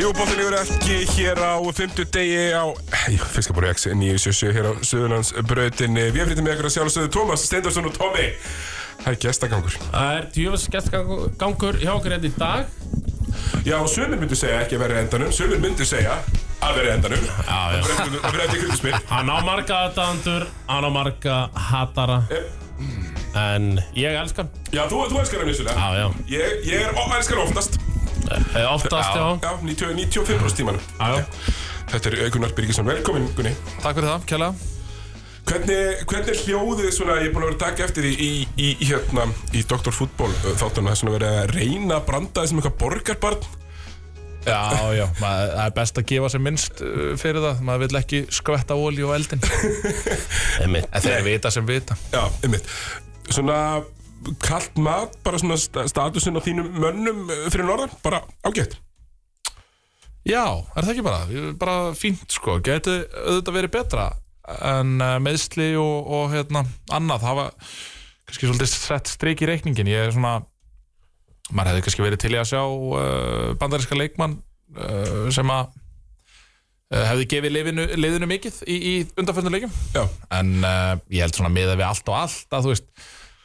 Jú, bóttin yfir ekki hér á 50 degi á Fiskabóri X 977 hér á Suðurlandsbrautinni. Við frittum með ykkur að sjálfsögðu Tómas, Steindorsson og Tómi. Það er gestagangur. Það er djöfus gestgangur hjá okkur hérna í dag. Já, sumir myndu segja ekki að vera í endanum, sumir myndu segja að vera í endanum. Já, já. Það verður ekki ykkur spil. Hann á marga aðdæðandur, hann á marga hatara, en ég elska hann. Eh, Já, þú, þú elskar hann vissulega. Já, já. Ég, ég er, ó, elskar oftast. Eh, Oftast, já. Já, 90, 95% tímanum. Já, já. Þetta er Aukunar Birgisson. Velkomin, Gunni. Takk fyrir það, kjælega Hvernig, hvernig er hljóðið svona, ég er búin að vera að taka eftir því í, í, í hérna, í Dr. Fútból þáttunum, það er svona verið að reyna að branda þessum eitthvað borgarbarn. Já, já, maður, það er best að gefa sér minnst uh, fyrir það, maður vill ekki skvetta ólíu á eldin En Einmitt. þeir vita sem vita Já, einmitt. Svona kallt mat, bara svona sta- statusinn á þínum mönnum eh, fyrir norðan, bara ágætt. Já, er það ekki bara, Ég- bara fínt sko, geti auðvitað verið betra en uh, meðsli og, og hérna, annað hafa kannski svolítið sett streik í reikningin ég er svona maður hefði kannski verið til í að sjá uh, bandaríska leikmann uh, sem að uh, hefði gefið liðinu, liðinu mikið í, í undanfjörnum leikum Já, en uh, ég held svona miða við allt og allt að þú veist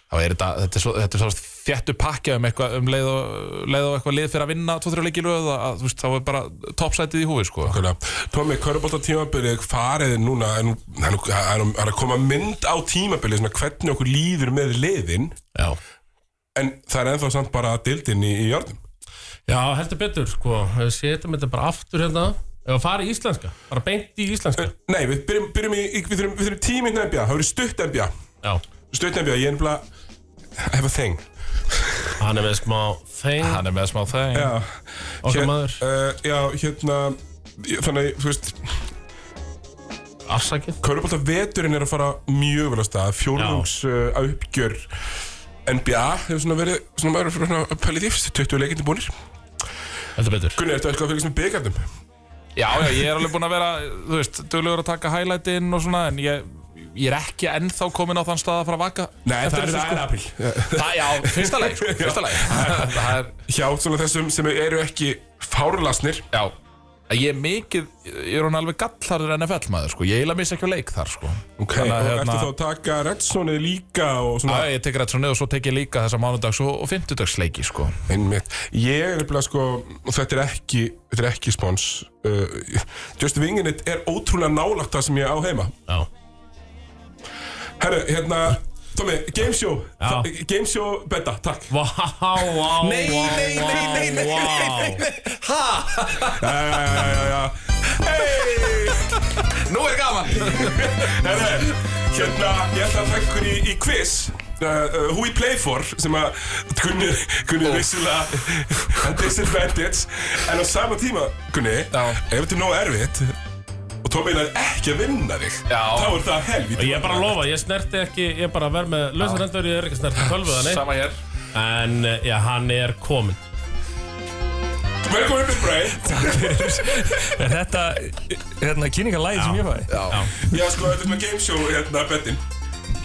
þá er þetta, þetta er svo, þetta er svo þjættu pakja um, eitthvað, um leið, og, leið og eitthvað lið fyrir að vinna 2-3 leiki í löð að, að þú veist, þá er bara toppsætið í húfi sko. okkurlega. Tómi, körubólta tímabilið, farið núna, en það er nú- það er nú- það er að koma mynd á tímabilið, svona hvernig okkur líður með liðin, já. en það er ennþá samt bara dildin í, í jörnum. Já, heldur betur, sko. Við setjum þetta bara aftur hérna. Ef að fara í íslenska, bara beint í íslenska. Nei, við byrjum, byrjum í, í- við þurfum, við þurfum tími hérna NBA, það verður stutt NBA Já. Stutt NBA, ég er nefnilega I have a thing Hann er með smá þeim. hann er með smá þeng Já, Okkar maður. uh, Já, hérna ég- Þannig, þú veist, Afsakið. Körbólta veturinn er að fara mjög vel á stað Fjórlungs uh, uppgjör NBA hefur svona verið, svona maður er svona að pæli því 20 leikindi búnir Heldur betur. Gunni, ertu eitthvað að fylgjast með byggandum? já, já, ég er alveg búinn að vera þú veist, duglegur að taka highlightin og svona en ég, ég er ekki ennþá komin á þann stað að fara að vaka Nei, það er, þessu, það er apríl það, já, fyrsta leik sko, fyrsta leik það er, Hjá svona þessum sem eru ekki fárlasnir já ég er mikið, ég er hún alveg gallarður NFL maður sko, ég eiginlega missa ekki á leik þar sko Ok, Þannig að, og hérna- ertu þá að taka Redsonið líka og svona Já, ég tek rétt svo niður og svo tek ég líka þessa mánudags og, og fimmtudagsleiki, sko. Einmitt. Ég er nefnilega sko, og þetta er ekki, þetta er ekki spons. Uh, Just Wingin' It er ótrúlega nálagt það sem ég á heima. Já. Herru, hérna, Tómi, Gameshow, Já. Gameshow betta, takk. Vá, vá, vá, Nei, nei, nei, vá, nei, nei, vá. Já, já, já, já, já. Hey! Nú er gaman! Herru, hérna, ég ætla að taka ykkur í, í quiz. Uh, uh, who we play for sem að Gunni, Gunni vissilega and disadvantage en á sama tíma Gunni Já. ef þetta er nóg erfitt og Tómi er ekki að vinna þig Já. þá er það helvítið Ég er bara að lofa, ég snerti ekki, ég er bara að vera með lausar hendur, ég er ekki að snerti tölvuðan, nei. Sama hér. En, eh, já, hann er kominn. Velkomin Big Brain Er þetta, hérna, kynningarlægi sem ég fæ? Já. Já sko, þetta er með gameshow hérna bettin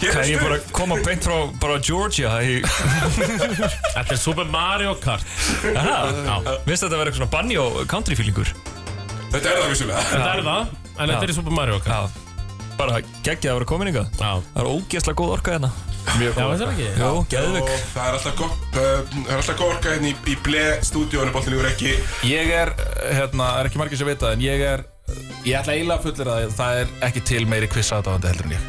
Hér Hvað er ég er bara að stöð koma beint frá bara Georgia í... Þetta er Super Mario Kart. Aha, minnst þetta að vera eitthvað svona banni og country feelingur Þetta er það vissulega Þetta er það, en þetta er í Super Mario Kart. Já Bara geggjað að vera komin yngvað Já. Það er ógeðslega góð orka hérna Mjög Já, góð. þetta er ekki. Jó, geðvik Og það er alltaf gott uh, Það er alltaf gott orka hérna í, í ble stúdíónu Bóttin yfir ekki Ég er, hérna, það er ekki margir sem vita það, en ég er, ég ætla eiginlega að fullir að það er ekki til meiri quiz aðdáðandi heldur en ég.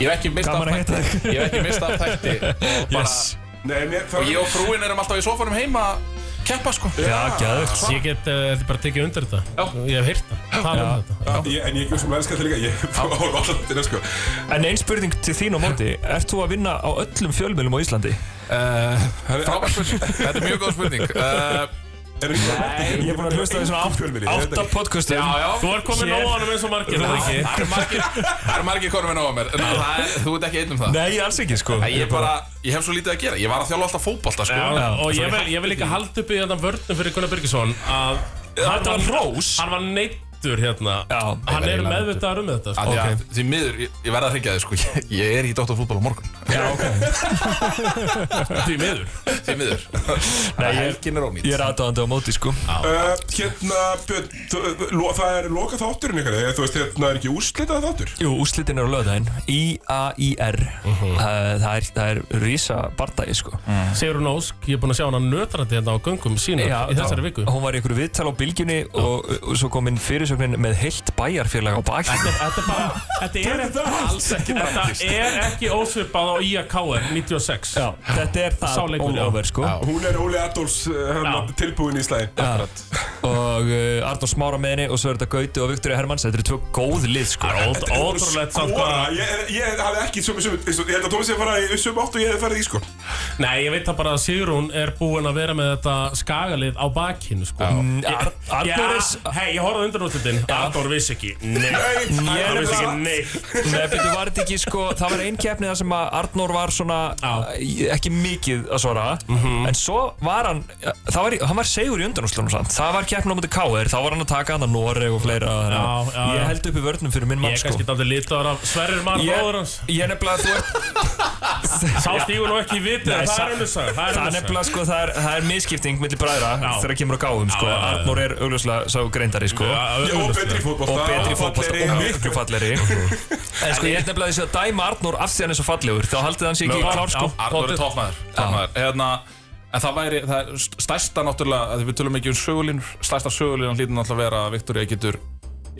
Ég hef ekki mistað Gaman að af hitta þætti. þig. Ég hef ekki mistað af þætti. og Bara, Yes. Nei, mér Og það ég og frúin erum alltaf í sofanum heima að keppa, sko. Já, geðvikt Ég get, eh, þetta er bara að tekja undir þetta. Já. Ég hef heyrt það. Tala um þetta. Já, ég, en ég er sem elskar það líka, ég horfa alltaf til það sko En ein spurning til þín á móti Ert þú að vinna á öllum fjölmiðlum á Íslandi? Uh, Frábær spurning. Þetta er mjög góð spurning. Uh, Er það Ég er búin að hlusta á svona fjölmiðli, átt- ég veit átta ekki. podcastum já, já. Þú er komin Hér. nóðanum eins og margir. Þú Já. ekki. Það eru margir, það eru margir konum en á mér. En það er, þú ert ekki einn um það. Nei, alls ekki sko Nei, ég bara, ég hef svo lítið að gera Ég var að þjálfa alltaf fótbolta, sko Já, Já, og svo ég er hérna vil, ég vil líka halda upp í þetta vörnum fyrir Gunnar Birgisson að hann Þetta var hrós hann var neitt aftur hérna Já, Hann ég er verð eiginlega meðvitaður um þetta Af sko. því að Því miður, ég, ég verða að hringja þig sko Ég, ég er í dóttarfútból á morgun Já, ok. Því miður Því miður Nei, ég- Helgin er ónýtt Ég er aðdáðandi á móti, sko. Uh, hérna, Björn, þú- uh, lo, það er loka þátturinn ykkar, eða þú veist, hérna er ekki úrslitað þáttur? Jú, úslitin eru löðaðinn. I-A-I-R. Mhm. það, það er, það er rísa bardagi, sko. Sigrun Ósk, ég er búin að sjá hana nötrandi hérna á göngum sína í þessari viku Hún var í einhverju viðtal á bylgjunni og, og svo kom inn fyrirsögnin með heilt bæjarfélag á baki. Þetta er bara, þetta er ekki alls ekki Þetta er ekki ósvipað á IAKR 96 Já, þetta er Sá það leikur, all já. over, sko. Hún er Óli Adolfs uh, hérna, Já. tilbúin í slæðin. Akkurat. Og uh, Arnór Smára með henni og svo er þetta Gauti og Viktoria Hermanns. Þetta eru tvö góð lið, sko. Það er ótrú- ótrúlegt samt Skora, hvað ég, ég hafði ekki sömu, sömu, eins og- ég held að Tómi sé að fara í sömu átt og ég hefði farið í sko Nei, ég veit það bara að Sigrún er búin að vera með þetta skagalið á bakinu sko. Mm, Ar- Já, Arnór er... s- hei, ég horfði undan útlutin Ador vissi ekki Nei, Ador vissi ekki neitt Nei, betur var þetta ekki sko, það var einn keppni þar sem að Arnór var svona Já. Mhm. eh, ekki mikið að svara en svo var hann, eh, það var, í- hann var segur í undanúslunum samt, það var keppni á mútið K.R. þá var hann að taka hann að Noreg og fleira þannig að Já, já, já. ég held upp í vörnum fyrir minn Ég mann er sko kannski daldið lítur af Sverrir Már Ég- bróður hans Ég nefnilega, þú ert, Sá stígur nú ekki í vitið Nei, en Það sa- er önnur saga Það er það er önnur nefnilega sko, það er, það er miskipting millir bræðra þegar það kemur á gáðum sko, já, já, já. Arnór er augljóslega sá greindari sko saga Og betri í fótbolta og betri í fótbolta fallegri. og miklu falleri en sko ég held nefnilega þessi að dæma Arnór af því hann er svo fallegur þá haldið hann sér ekki Mögulega. klár sko Já. Arnur er toppmæður Toppmæður Hérna En það væri, það er st- stærsta náttúrulega, að við tölum ekki um sögulínur, stærsta sögulínan hlýtur náttúrulega að vera að Viktoria getur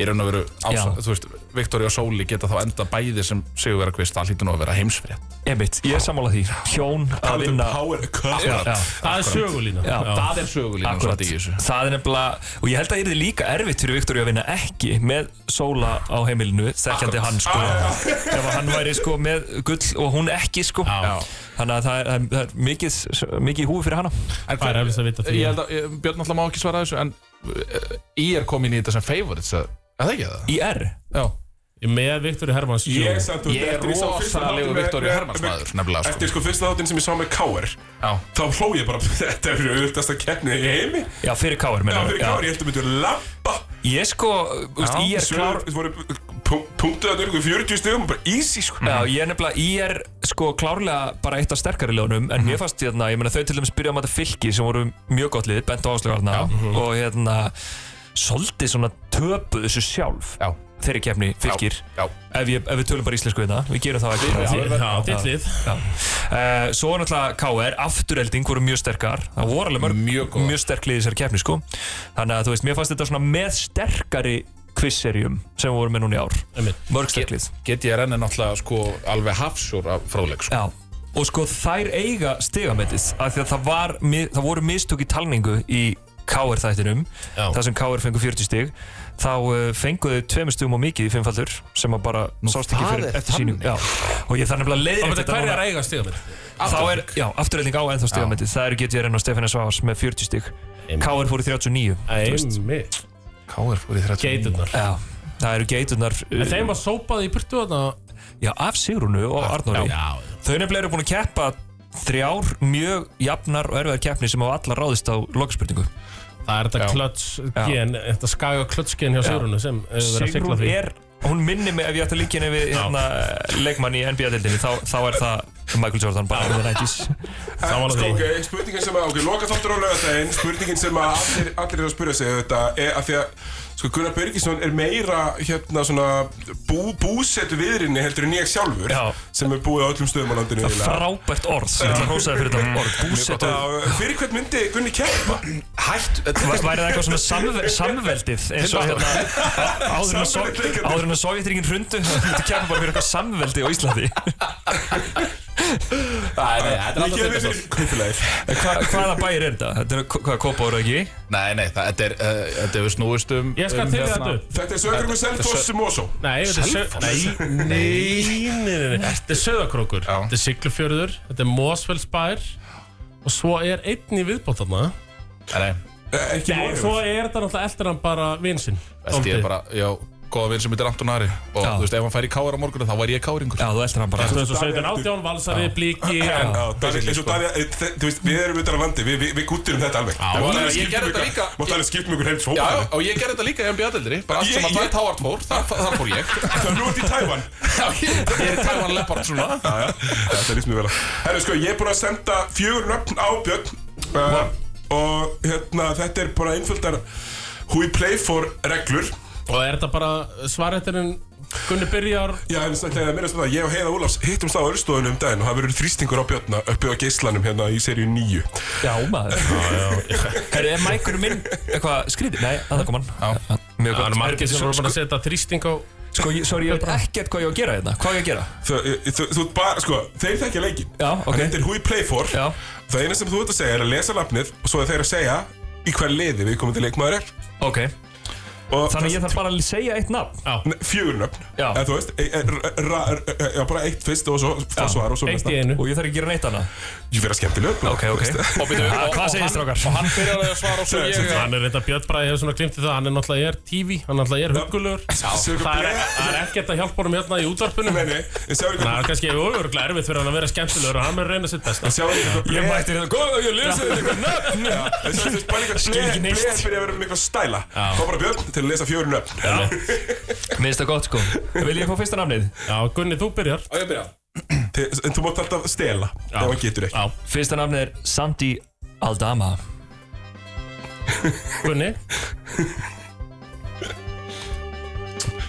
í raun og veru ása, Já. þú veist, Viktoria og Sóli geta þá enda bæði sem sigurvera kvist, það hlýtur nú að vera heimsfrétt. Einmitt, ég er sammála því Hjón að um vinna Power cut Já, já, Það er sögulína Já. Það er sögulínan akkurat svolítið í þessu. Það er nefnilega Og ég held að það er líka erfitt fyrir Viktor að vinna ekki með Sóla á heimilinu þekkjandi hann sko Ef að hann væri sko með gull og hún ekki sko Já. Þannig að það er, það er mikið, mikið í húfi fyrir hana En Það er hver- eflis að vita því. Ég held að, ég- Björn náttúrulega má ekki svara þessu, en ég er komin í þetta sem favorites, að- er það ekki það? Í R Já. Með Viktori Hermanns Ég, jú. samt, þú veist, Ég er eftir ég sá fyrsta rosalegur þáttinn með- Viktoríu með- Hermanns með- maður, nefnilega, sko. Eftir sko fyrsta þáttinn sem ég sá með K.R. Já. Þá hló ég bara, þetta er fyrir auðvitaðsta keppni í heimi Já, fyrir Káir Já, fyrir K.R. ég held að myndu að labba Ég sko, þú veist, ég er klár Svöður, þú voru punk- punktuð að nörgu 40 stegum og bara easy sko Já, ég er nefnilega, ég er sko klárlega bara eitt af sterkari liðunum en mér fannst hérna, ég meina þau til dæmis byrja á þetta fylki sem voru mjög gott lið, bent og áslögar þarna og hérna, svolítið svona töpuð þessu sjálf Já. þeirri kefni fylkir Já. Ef, ég, ef við tölum bara íslensku hérna, við gerum það ekki Já, þitt lið uh, Svo er náttúrulega KR, afturhelding voru mjög sterkar það voru alveg mörg, Mjög góðar. mjög sterk lið í þessari kefni sko þannig að þú veist, mér fannst þetta svona með sterkari quizserjum sem við vorum með núna í ár Einmitt. mörg sterk lið Get ég renni náttúrulega sko alveg hafsjór af fróðleik sko. Já Og sko þær eiga stigametið af því að það, var, mi- það voru mistök í talningu í KR þættinum Já. þar sem KR fengu 40 stig þá uh, fenguðu tveimur stugum og mikið í fimmfaldur sem að bara sást ekki það fyrir er eftir sínum þannig. Já. og ég þarf nefnilega að Það leiðrétta betur þetta hverja núna. ræga stiga mér þá er, já, afturreiting á ennþá stigametið það eru GTRN og Stefán Svavars með 40 stig KR fóru 39 þú veist. Einmitt K.R. fór í 30 Geiturnar Já, það eru geiturnar uh, En þeim var sópað í burtu þarna já, af Sigrunu og Arnóri Já Þau nefnilega eru búin að keppa þrjár mjög jafnar og erfiðar keppni sem hafa allar ráðist á lokaspurningu. Það er þetta Já. klöts gen Þetta skaga klöts gen hjá Sigrunu sem eh, verið að sigla Sigrún því er, hún minnir mig ef ég ætti að líka henni við hérna, leikmann í NBA-dildinni, þá, þá er það Michael Jordan bara in the 90s. Sammála Sko, því. ok, spurningin sem að, ok, loka þáttur á lögadaginn Spurningin sem að allir, allir eru að spyrja sig þetta er að því að Sko, Gunnar Bergisson er meira, hérna, svona bú, búsetu viðrinni heldur en ég sjálfur Já. Sem er búið á öllum stöðum á landinu eiginlega. Frábært orð, ég ætla að hósa það fyrir þetta orð, búsetu. Þetta, fyrir hvern myndi Gunni keppa? Hætt Væri það eitthvað svona samve samveldið eins og hérna áður en að Sov- Samveldið. áður en að Sovjetringin hrundu þú myndi kemur bara fyrir eitthvað samveldi á Íslandi Þetta er Ég kemur fyrir kaupilagið En hva, Hvaða bæir er þetta? Þetta er hvað, Kópa voru ekki? Nei, nei, það- þetta er, uh, þetta er snúist um Ég skal um, til hérna- þetta upp Þetta er sögur með Selfoss sem Mosó Nei, þetta er Sö- Nei, nei, nei, nei, nei. Þetta er Söðakrókur, Já. þetta er Siglufjörður, þetta er Mosfellsbær og svo er einn í viðbótarna. Nei, nei, Ekki Nei, Mosó svo er þetta náttúrulega eftir hann bara vinsinn. þetta er bara, já góða vinn sem heitir Anton Ari og Já. þú veist, ef hann fær í káar á morgunu þá væri ég káringur Já, þú eldir hann bara Þú veist, 17, 18, valsari, blíki En, Já, á, Davíð, eins og sko. Davíð, e, þe- þú veist, við erum utan af landi, við, við, við gúttirum þetta alveg. og ég gerði þetta líka. Máttu alveg skiptum ykkur heims Já, hópa. já, og ég gerði þetta líka í NBA-dildri bara allt Ég- sem að ég- Dwight Howard fór, þar, þar fór ég Það er nú ert í Tævan. Já, ég ég er Taiwan Leopard svona Já, já, þetta líst mér vel að. Herru, sko, ég er búin að senda fjögur nöfn á Björn. Uh, og hérna, þetta er bara einföldar who we play for reglur. Og er þetta bara svarættirinn Gunni Byrjar Já, en samt að minnast um það, ég og Heiða Úlafs hittumst á Örstofunum um daginn og það verður þrýstingur á Björna uppi á geislanum hérna í seríu 9. Já, maður Herri, er mækur minn eitthvað skrítið? Nei, að það kom hann Já, Mjög Það gott eru margir sem Sko, voru bara að setja þrýsting á Sko, ég- sorry, ég veit ekkert hvað ég á að gera hérna Hvað á ég að gera? Þú, eh, þú, þú ert bara, sko, þeir þekkja leikinn. Já, ok. Þetta er who we play for. Já. Það eina sem þú ert að segja er að lesa lafnið og svo er þeir að segja í hver liði við komum til leikmaður er. Ok Og Þannig að ég þarf bara að segja eitt nafn Já, Nei, Fjögur nöfn, Já. eða þú veist, e, e, ra- ra- ra- e, já, bara eitt fyrst og svo fá Já, svar og svo eitt næsta. í einu Og ég þarf ekki að gera neitt annað Ég verða skemmtileg Ok, ok Og byrju, Ha, og- Hvað og segir hann- strákar? Og hann byrjar að svara og svo ég Hann er reynda Björn Bræði hefur svona klimt í það Hann er náttúrulega er TV, hann náttúrulega er hugulegur Það er, það er ekkert að hjálpa honum hérna í útvarpinu Nei, Þannig nei, en sjáum að við það er kannski örgulega erfitt fyrir hann að vera skemmtilegur og hann er að reyna sitt besta hvað Ég bleið mætti hérna, góða, ég lesa þetta eitthvað nöfn Já, en sjáum við hvað Skil bleið ekki neitt. Bleið byrja að vera með eitthvað stæla Þá bara Björn til að lesa fjögur nöfn Minnst það gott, sko Vil ég fá fyrsta nafnið? Já, Gunni, þú byrjar Og ég byrja Til- En þú mátt alltaf stela ef hann getur ekki Já, Fyrsta nafnið er Sandy Aldama Gunni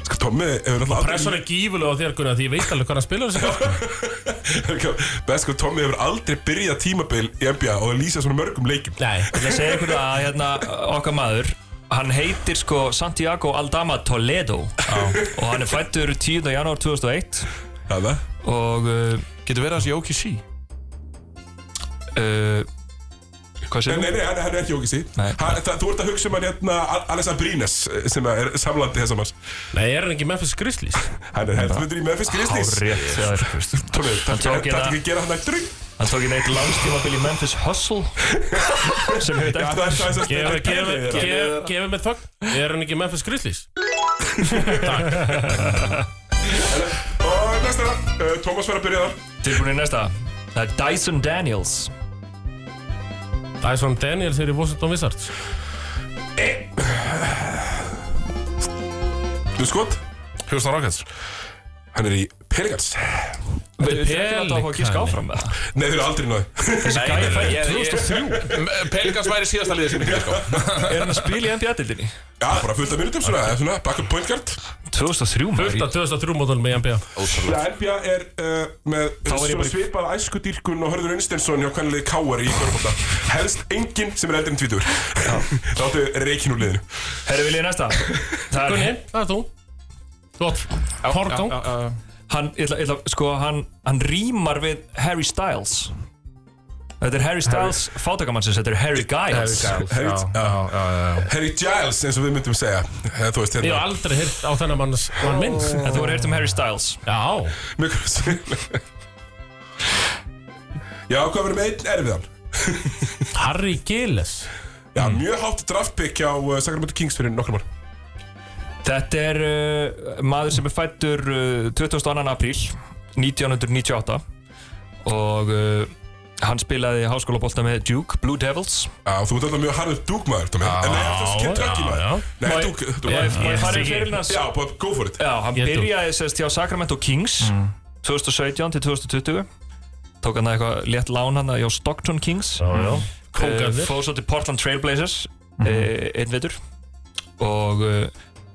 Sko, Tommi hefur náttúrulega Pressan er gífulega á þér, Gunni, af því ég veit alveg hvað hann spilar þessi kall aldrei Best, sko, Tommi hefur aldrei byrjað tímabil í NBA og að lýsa svona mörgum leikum Nei, Ég ætla að segja ykkur það að hérna okkar maður Hann heitir sko Santiago Aldama Toledo Og hann er fættur 10. janúar 2001 Það það? Og uh, Getur verið að þessi Jóki sí uh, Nei, Hvað segir nei, þú? nei, hann, hann er ekki ógisí Nei. Þú ert að hugsa um hann hérna Al- Alessa Brines sem er samlandi þessum hans nei, er hann ekki Memphis Grizzlies? Hann er helfundur í Memphis Grizzlies Hárétt hjá þér. Tómið, Hann það er sko, tók ekki hérna- að gera hann að drögg Hann tók í neitt langstímabil í Memphis Hustle Sem Já, hefur það dæmt er það sem Gefum Pælið þér. við þögn, er hann ekki Memphis Grizzlies? Og næsta, uh, Tómas var að byrja þar Tilbúin í næsta Það er Dyson Daniels Dyson Daniels er í Washington Wizards Þú skot, Houston Rockets hann er í Pelicans Við erum alltaf að gíska Pelikani. áfram með það Nei, þeir eru aldrei náði Þessi gæði fætt 2003 Pelikans væri síðasta liðið sinni sko. Er hann að spila í NBA-dildinni? Já, bara fullt af minutum svona, eða svona, backup point guard 2003 maður Fullt af 2003 módulum í NBA Já, NBA er uh, með er ég svona bara- svipað æskudýrkun og Hörður Unstensson hjá hvernig K.R. í Körbóta Helst enginn sem er eldri en tvítur Þáttu reikin úr liðinu Herru, vil ég næsta Það Gunni, er það er þú Þú átt forgang hann, ég ætla, ég ætla, sko, hann, hann rýmar við Harry Styles Þetta er Harry Styles fátakamannsins, þetta er Harry Giles Harry- Giles Harry Giles, eins og við myndum segja Eða, Þú veist, Ég hef hérna aldrei hýrt á þennan manns mann minnst En þú er heyrt um Harry Styles Já, Mjög sviðlega Já, hvað verður með einn erfiðan? Harry Gilles Já, Mm. mjög hátt draftpick hjá uh, Sacramento Kings fyrir nokkrum ár Þetta er uh, maður sem er fættur uh, 22. apríl 1998 og uh, hann spilaði háskólabolta með Duke, Blue Devils Já, þú ert alltaf mjög harður dúkmaður, Tómi En nei, þetta er skemmt ekki já, já. maður Nei, Má ég- dúk, Má ég- dúk má ég fara í Ég- fyrirlina? Já, bara go for it Já, hann Ég dú. byrjaði sérst hjá Sacramento Kings 2017 til 2020 Tók hann eitthvað létt lán hann hjá Stockton Kings já uh, Kókaðir fór svo til Portland Trailblazers mm einn vetur og uh,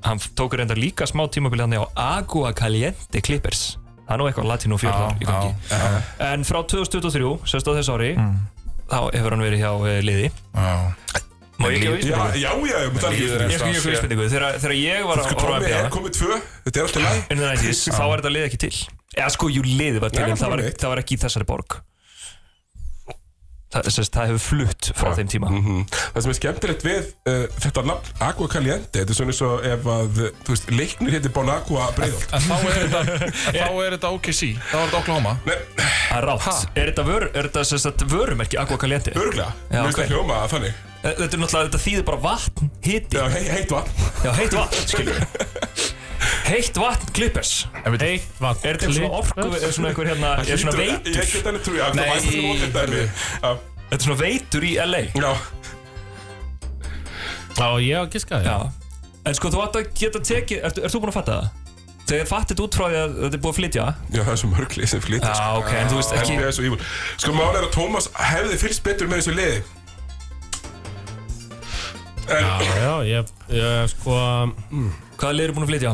hann tók reyndar líka smá tímabili hann á Agua Caliente Clippers það er nú eitthvað latinu fjörðar í gangi en frá 2023, sérst á þessu ári þá hefur hann verið hjá uh, liði Má ég ekki á Já, já, já, vísbendingu? já, það er líður ekki Ég skal ekki á vísbendingu Þegar þegar ég var að Sko, horfa Tómi að er byrja komið tvö Þetta er alltaf læg in the 90s, þá var þetta lið ekki til eða sko, jú, liði var til Nei, en það var, það var það var ekki í þessari borg það, sérst, það hefur flutt frá þeim tíma Mhm. Það sem er skemmtilegt við uh, þetta nafn Aqua Caliente, þetta er svona eins og ef að, uh, þú veist, leiknir hétti Bon Aqua Breiðholt. En þá er þetta Þá er þetta OKC Þá er þetta Oklahoma Nei, Það er rátt. Er þetta, vör, er þetta sem sagt, vörumerki Aqua Caliente? örglega, Já, mér finnst ok. það hljóma þannig. Þetta er náttúrulega, þetta þýðir bara vatn, hiti, Já, he- heitt vatn. já, heitt vatn, skiljum. heitt vatn Clippers Heitt vatn Er þetta svona orku, er svona einhver hérna er svona veit, Ég get henni trúið, það Nei, var svona ótrúið dæmi Já, þetta er svona veitur í LA já, Já, ég á að giska Já það En sko þú átt að geta tekið, ert, ert þú búin að fatta það? Þegar þið fattir út frá því að þetta er búið að flytja já, það er svo mörglið sem flytja Já, ok, en þú veist Ekki... ekki NBA er svo evil Sko málega er að Tómas hefði fylgst betur með þessu liði Já, já, ég, ég sko Hvaða lið eru búin að flytja?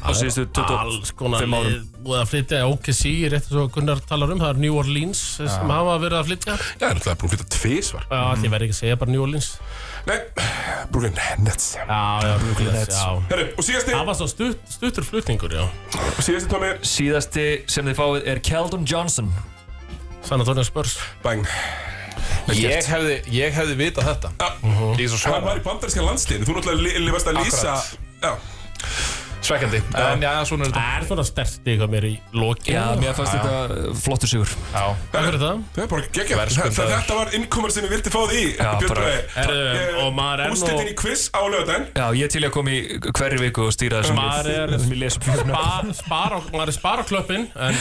Á síðustu 25 Alls konar árum. lið búið að flytja OKC, rétt eins og Gunnar talar um Það er New Orleans sem hafa verið að flytja Já, Já, það er náttúrulega búin að flytja tvísvar Mm. allir verið ekki að segja bara New Orleans Nei, Brooklyn Nets Já, já, Brooklyn Nets já. Herru, og síðasti, Það var svo stutt, stuttur flutningur, já og síðasti Tómi Síðasti sem þið fáið er Keldon Johnson San Antonio Spurs Bang Ég hefði, ég hefði vitað þetta Ég er Hann svo svara var í bandarinska landsliðinu, þú náttúrulega lifast að lýsa Akkurat. Já, Svekkandi En já, svona er þetta Það er svona stert eitthvað mér í lokin Já, mér fannst þetta uh, flottur sigur Já Það fyrir það það er bara geggja Verðskuldaður. Þetta var innkomar sem ég vildi fá því Já, Björn bara- Bragi. Herru, Ég- og maður er nú- Úrslitin í quiz á lögadaginn Já, ég er til í að koma í hverju viku og stýra þessum Maður er- Ég les upp fjögurna. Spar, spar, á- maður er spar á klöppin En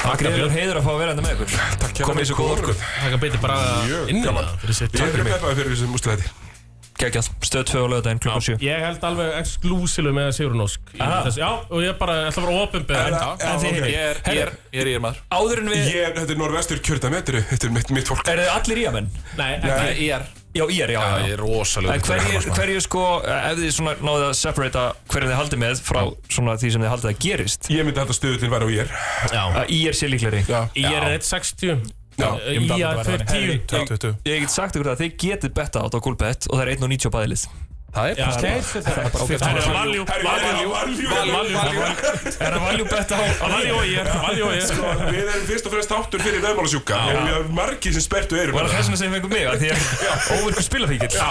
Það er greiður heiður að fá að vera þetta með ykkur Komið í svo góð orku það kan betur bara Mjög inn í það gaman. fyrir sitt Ég er peppaði fyrir þessum úrslitin Gekjað, stöð 2 á lögadaginn klukkan 7 Ég held alveg exklúsilu með Sigrun Ósk í Aha. þessu- Já, og ég bara ætla að vera ofinbeð Já, En þið ok. hinir. Ég er, ég er, ég er, ég er maður Áður en við Ég er, þetta er norvestur kjördametri, þetta er mitt, mitt fólk Er þið allir í að menn? Nei, ekki Ég er Já, ég er, já, Já, já ég er rosalega En hverju, hverju sko, ef þið svona náðu að separata hverju þið haldið með frá svona því sem þið haldið að gerist Ég myndi halda stöðullin væri og ég er Já, að í er sér líklari ég er 1.60 Já, Ég er 2.10 20 Ég get sagt ykkur það að þið getið betta á þetta gólbett og það er 1.90 á bæðilið Það er það er- Það er valjú, valjú Er það valjú betta á Valjú og ég, valjú og ég Við erum fyrst og fremst þáttur fyrir veðmálasjúka og við erum margir sem spertu eru Var það þess vegna sem fengið mig að því að óvirkur spilafíkir Já,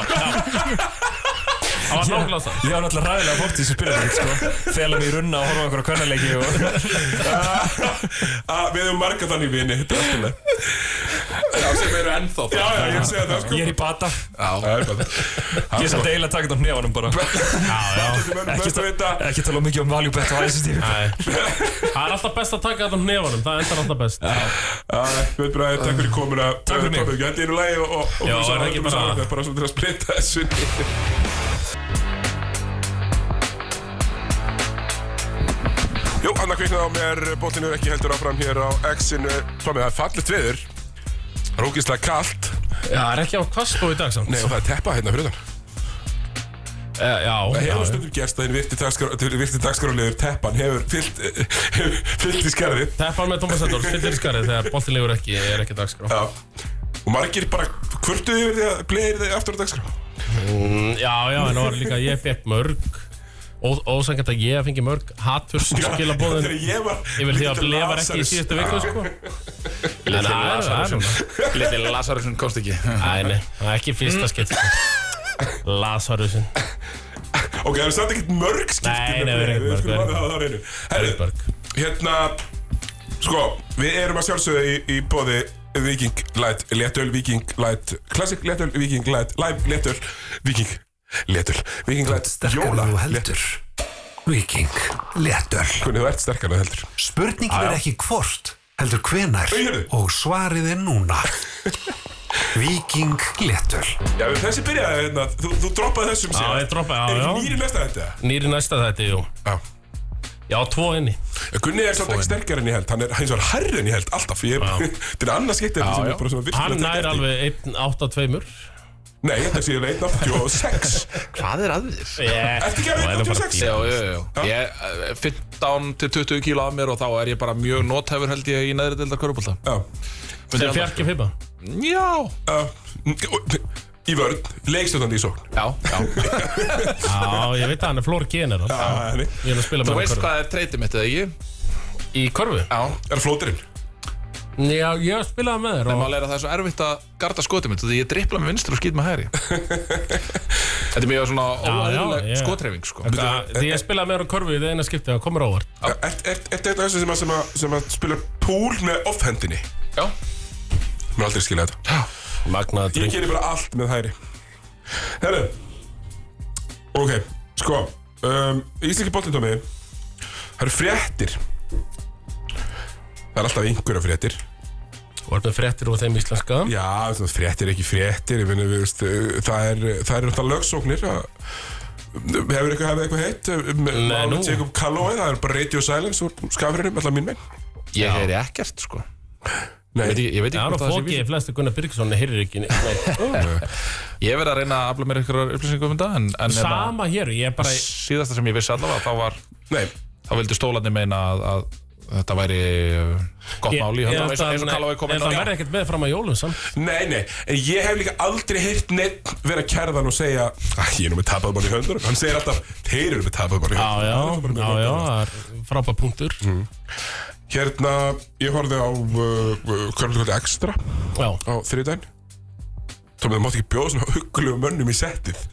Það var nákvæmlega það Ég var náttúrulega ræðilega fórt í þessu spilafík sko Fela mig í runna og horfa okkur á kvennarleiki og að Við erum marga þannig vini Þetta er allt í lagi. sem eru ennþá Já, já, ég er að segja það sko ég er í bata Það er bara Ég er samt eiginlega að taka þetta á hnefanum bara Þetta er Ekki mörgst að vita ta- Ekki tala of mikið um valjú betta á þessu tíma Nei. Það er alltaf best að taka þetta um hnefanum, það endar alltaf best Við erum bara að takk fyrir komuna Takk fyrir mig. Þetta er í lagi og- og Já, og er það ekki höldum bara- saman, Bara svona til að splitta þessu Jú, hann að kviknaði á mér, bóttinn er ekki heldur áfram hér á X-inu. Tómi, það er fallit viður, rókislega kallt, Já, það er ekki á kastó í dag samt nei og það er teppa hérna fyrir utan. Eh, Já, Það já, hefur stundum gerst að hinn virti dagskrá- virti dagskráliður teppan hefur fyllt, eh, hefur fyllt í skarðið. Teppan með Thomas Edwards, fyllir í skarið þegar boltin legur ekki, er ekki dagskrá Já. Og margir bara kvörtuðu yfir því að bleið þið aftur á dagskrá. Um, Já, já, en það var líka, ég fekk mörg Ósangætt að ég fengi mörg Hattur skila bóðin Þegar ég var... Yfir því að lítill blefar ekki í Lazarus. síðustu viku, sko En það er- það er núna. Lazarusson Lítið Lazarusson komst ekki Æ, nei, það er ekki fyrsta sko. skipt Lasarusin Ok, það er samt ekkert mörg skipti Nei, með nei, það er ekkert Við mörg, skulum það er alveg hafa það á hreinu. Herru, Berg hérna, sko, við erum að sjálfsögðu í, í bóði Viking Light, Letöl, Viking Light, Classic Letöl, Viking Light, Live Letöl, Viking Letöl, Viking Light, Jóla Sterkar nú Letöl. heldur Viking, letur Hvernig Sko, þú ert sterkar en heldur. Spurningin er ekki hvort, heldur hvenar Í hérðu. Og svarið er núna Viking, letur Já, við- þessi byrjaði hérna, þú, þú droppaði þessum Já, síðan. ég droppa, Er já, ekki já nýri næsta þetta? Nýri næsta þetta, jú Já. Já, tvo inni Gunni er svolítið ekki sterkar en ég held, hann er hins vegar hærri en ég held alltaf. Ég, þetta er annað skiptið sem já. er bara svona virkilega Hann sterkar nær en ég. alveg 1.82 Nei, þetta séu 186. Hvað er að þér? Yeah. Ertu ekki að Nú er það bara 186? fínt. Já, já, já, já. Ég er 15 til 20 kíla af mér og þá er ég bara mjög nothæfur held ég í neðri deildar körubólta. Já. Sem fjarki fippa Já, Já, í vörð, leikstjóðandi í sókn já, já. Já, ég veit að hann er flór general Já, henni. Ég er að spila með hann Þú í veist körfu. hvað er treytið mitt eða ekki? Í körfu? Já. Er flóturinn? Já, ég spilaði með þér En og mál er að það er svo erfitt að garda skotið mitt því ég dripla með vinstur og skýt með hæri. Þetta er mjög svona já, óæðileg já. skotreifing, sko. Þa- Því ég spilaði með hann á körfu í það eina skipti og komur óvart Er þetta einn af þessum sem, að- sem, að- sem að spila púl með offhendinni? Já. Mér aldrei skilja þetta Magnaði Ég drink gerir bara allt með hæri Herru Ok, sko um, Íslenski boltintómi Það eru fréttir Það er alltaf einhverja fréttir Og er með fréttir úr þeim íslenska Já, svona fréttir ekki fréttir meni, við, veist, uh, Það er Það er náttúrulega lögsóknir að- Hefur eitthvað, hefur eitthvað heitt um, Nei, Máli nú. Jacob Calloway, það er bara radio silence úr skafurinnum, alltaf mín megin Ég heyri ekkert sko Nei, Veit ekki- Ég veit Já, ekki hann og hvort það sé fókið vísið er flest að Gunnar Birgisson heyrir ekki neitt. Ég verði að reyna að afla mér ykkur upplýsingum um þetta en, en hérna, Sama hér, ég er bara síðasta sem ég vissi allavega þá var nei þá vildi stólarnir meina að, að þetta væri uh, gott Ég- máli ég eins held og að- eins og Kallói kom En inn á það verði ekkert með fram að jólum samt Nei, nei, en ég hef líka aldrei heyrt neitt vera kærðan og segja Æ, ég er nú með tapaðmann í höndur Hann segir alltaf, þeir eru með tapaðmann í höndur Já, já, já, já, Mm. það er frábæð punktur Hérna, ég horfði á uh, Körnlugöldi Extra á Já, þriðdæn Tómið, það mátt ekki bjóða svona huggulegu mönnum í settið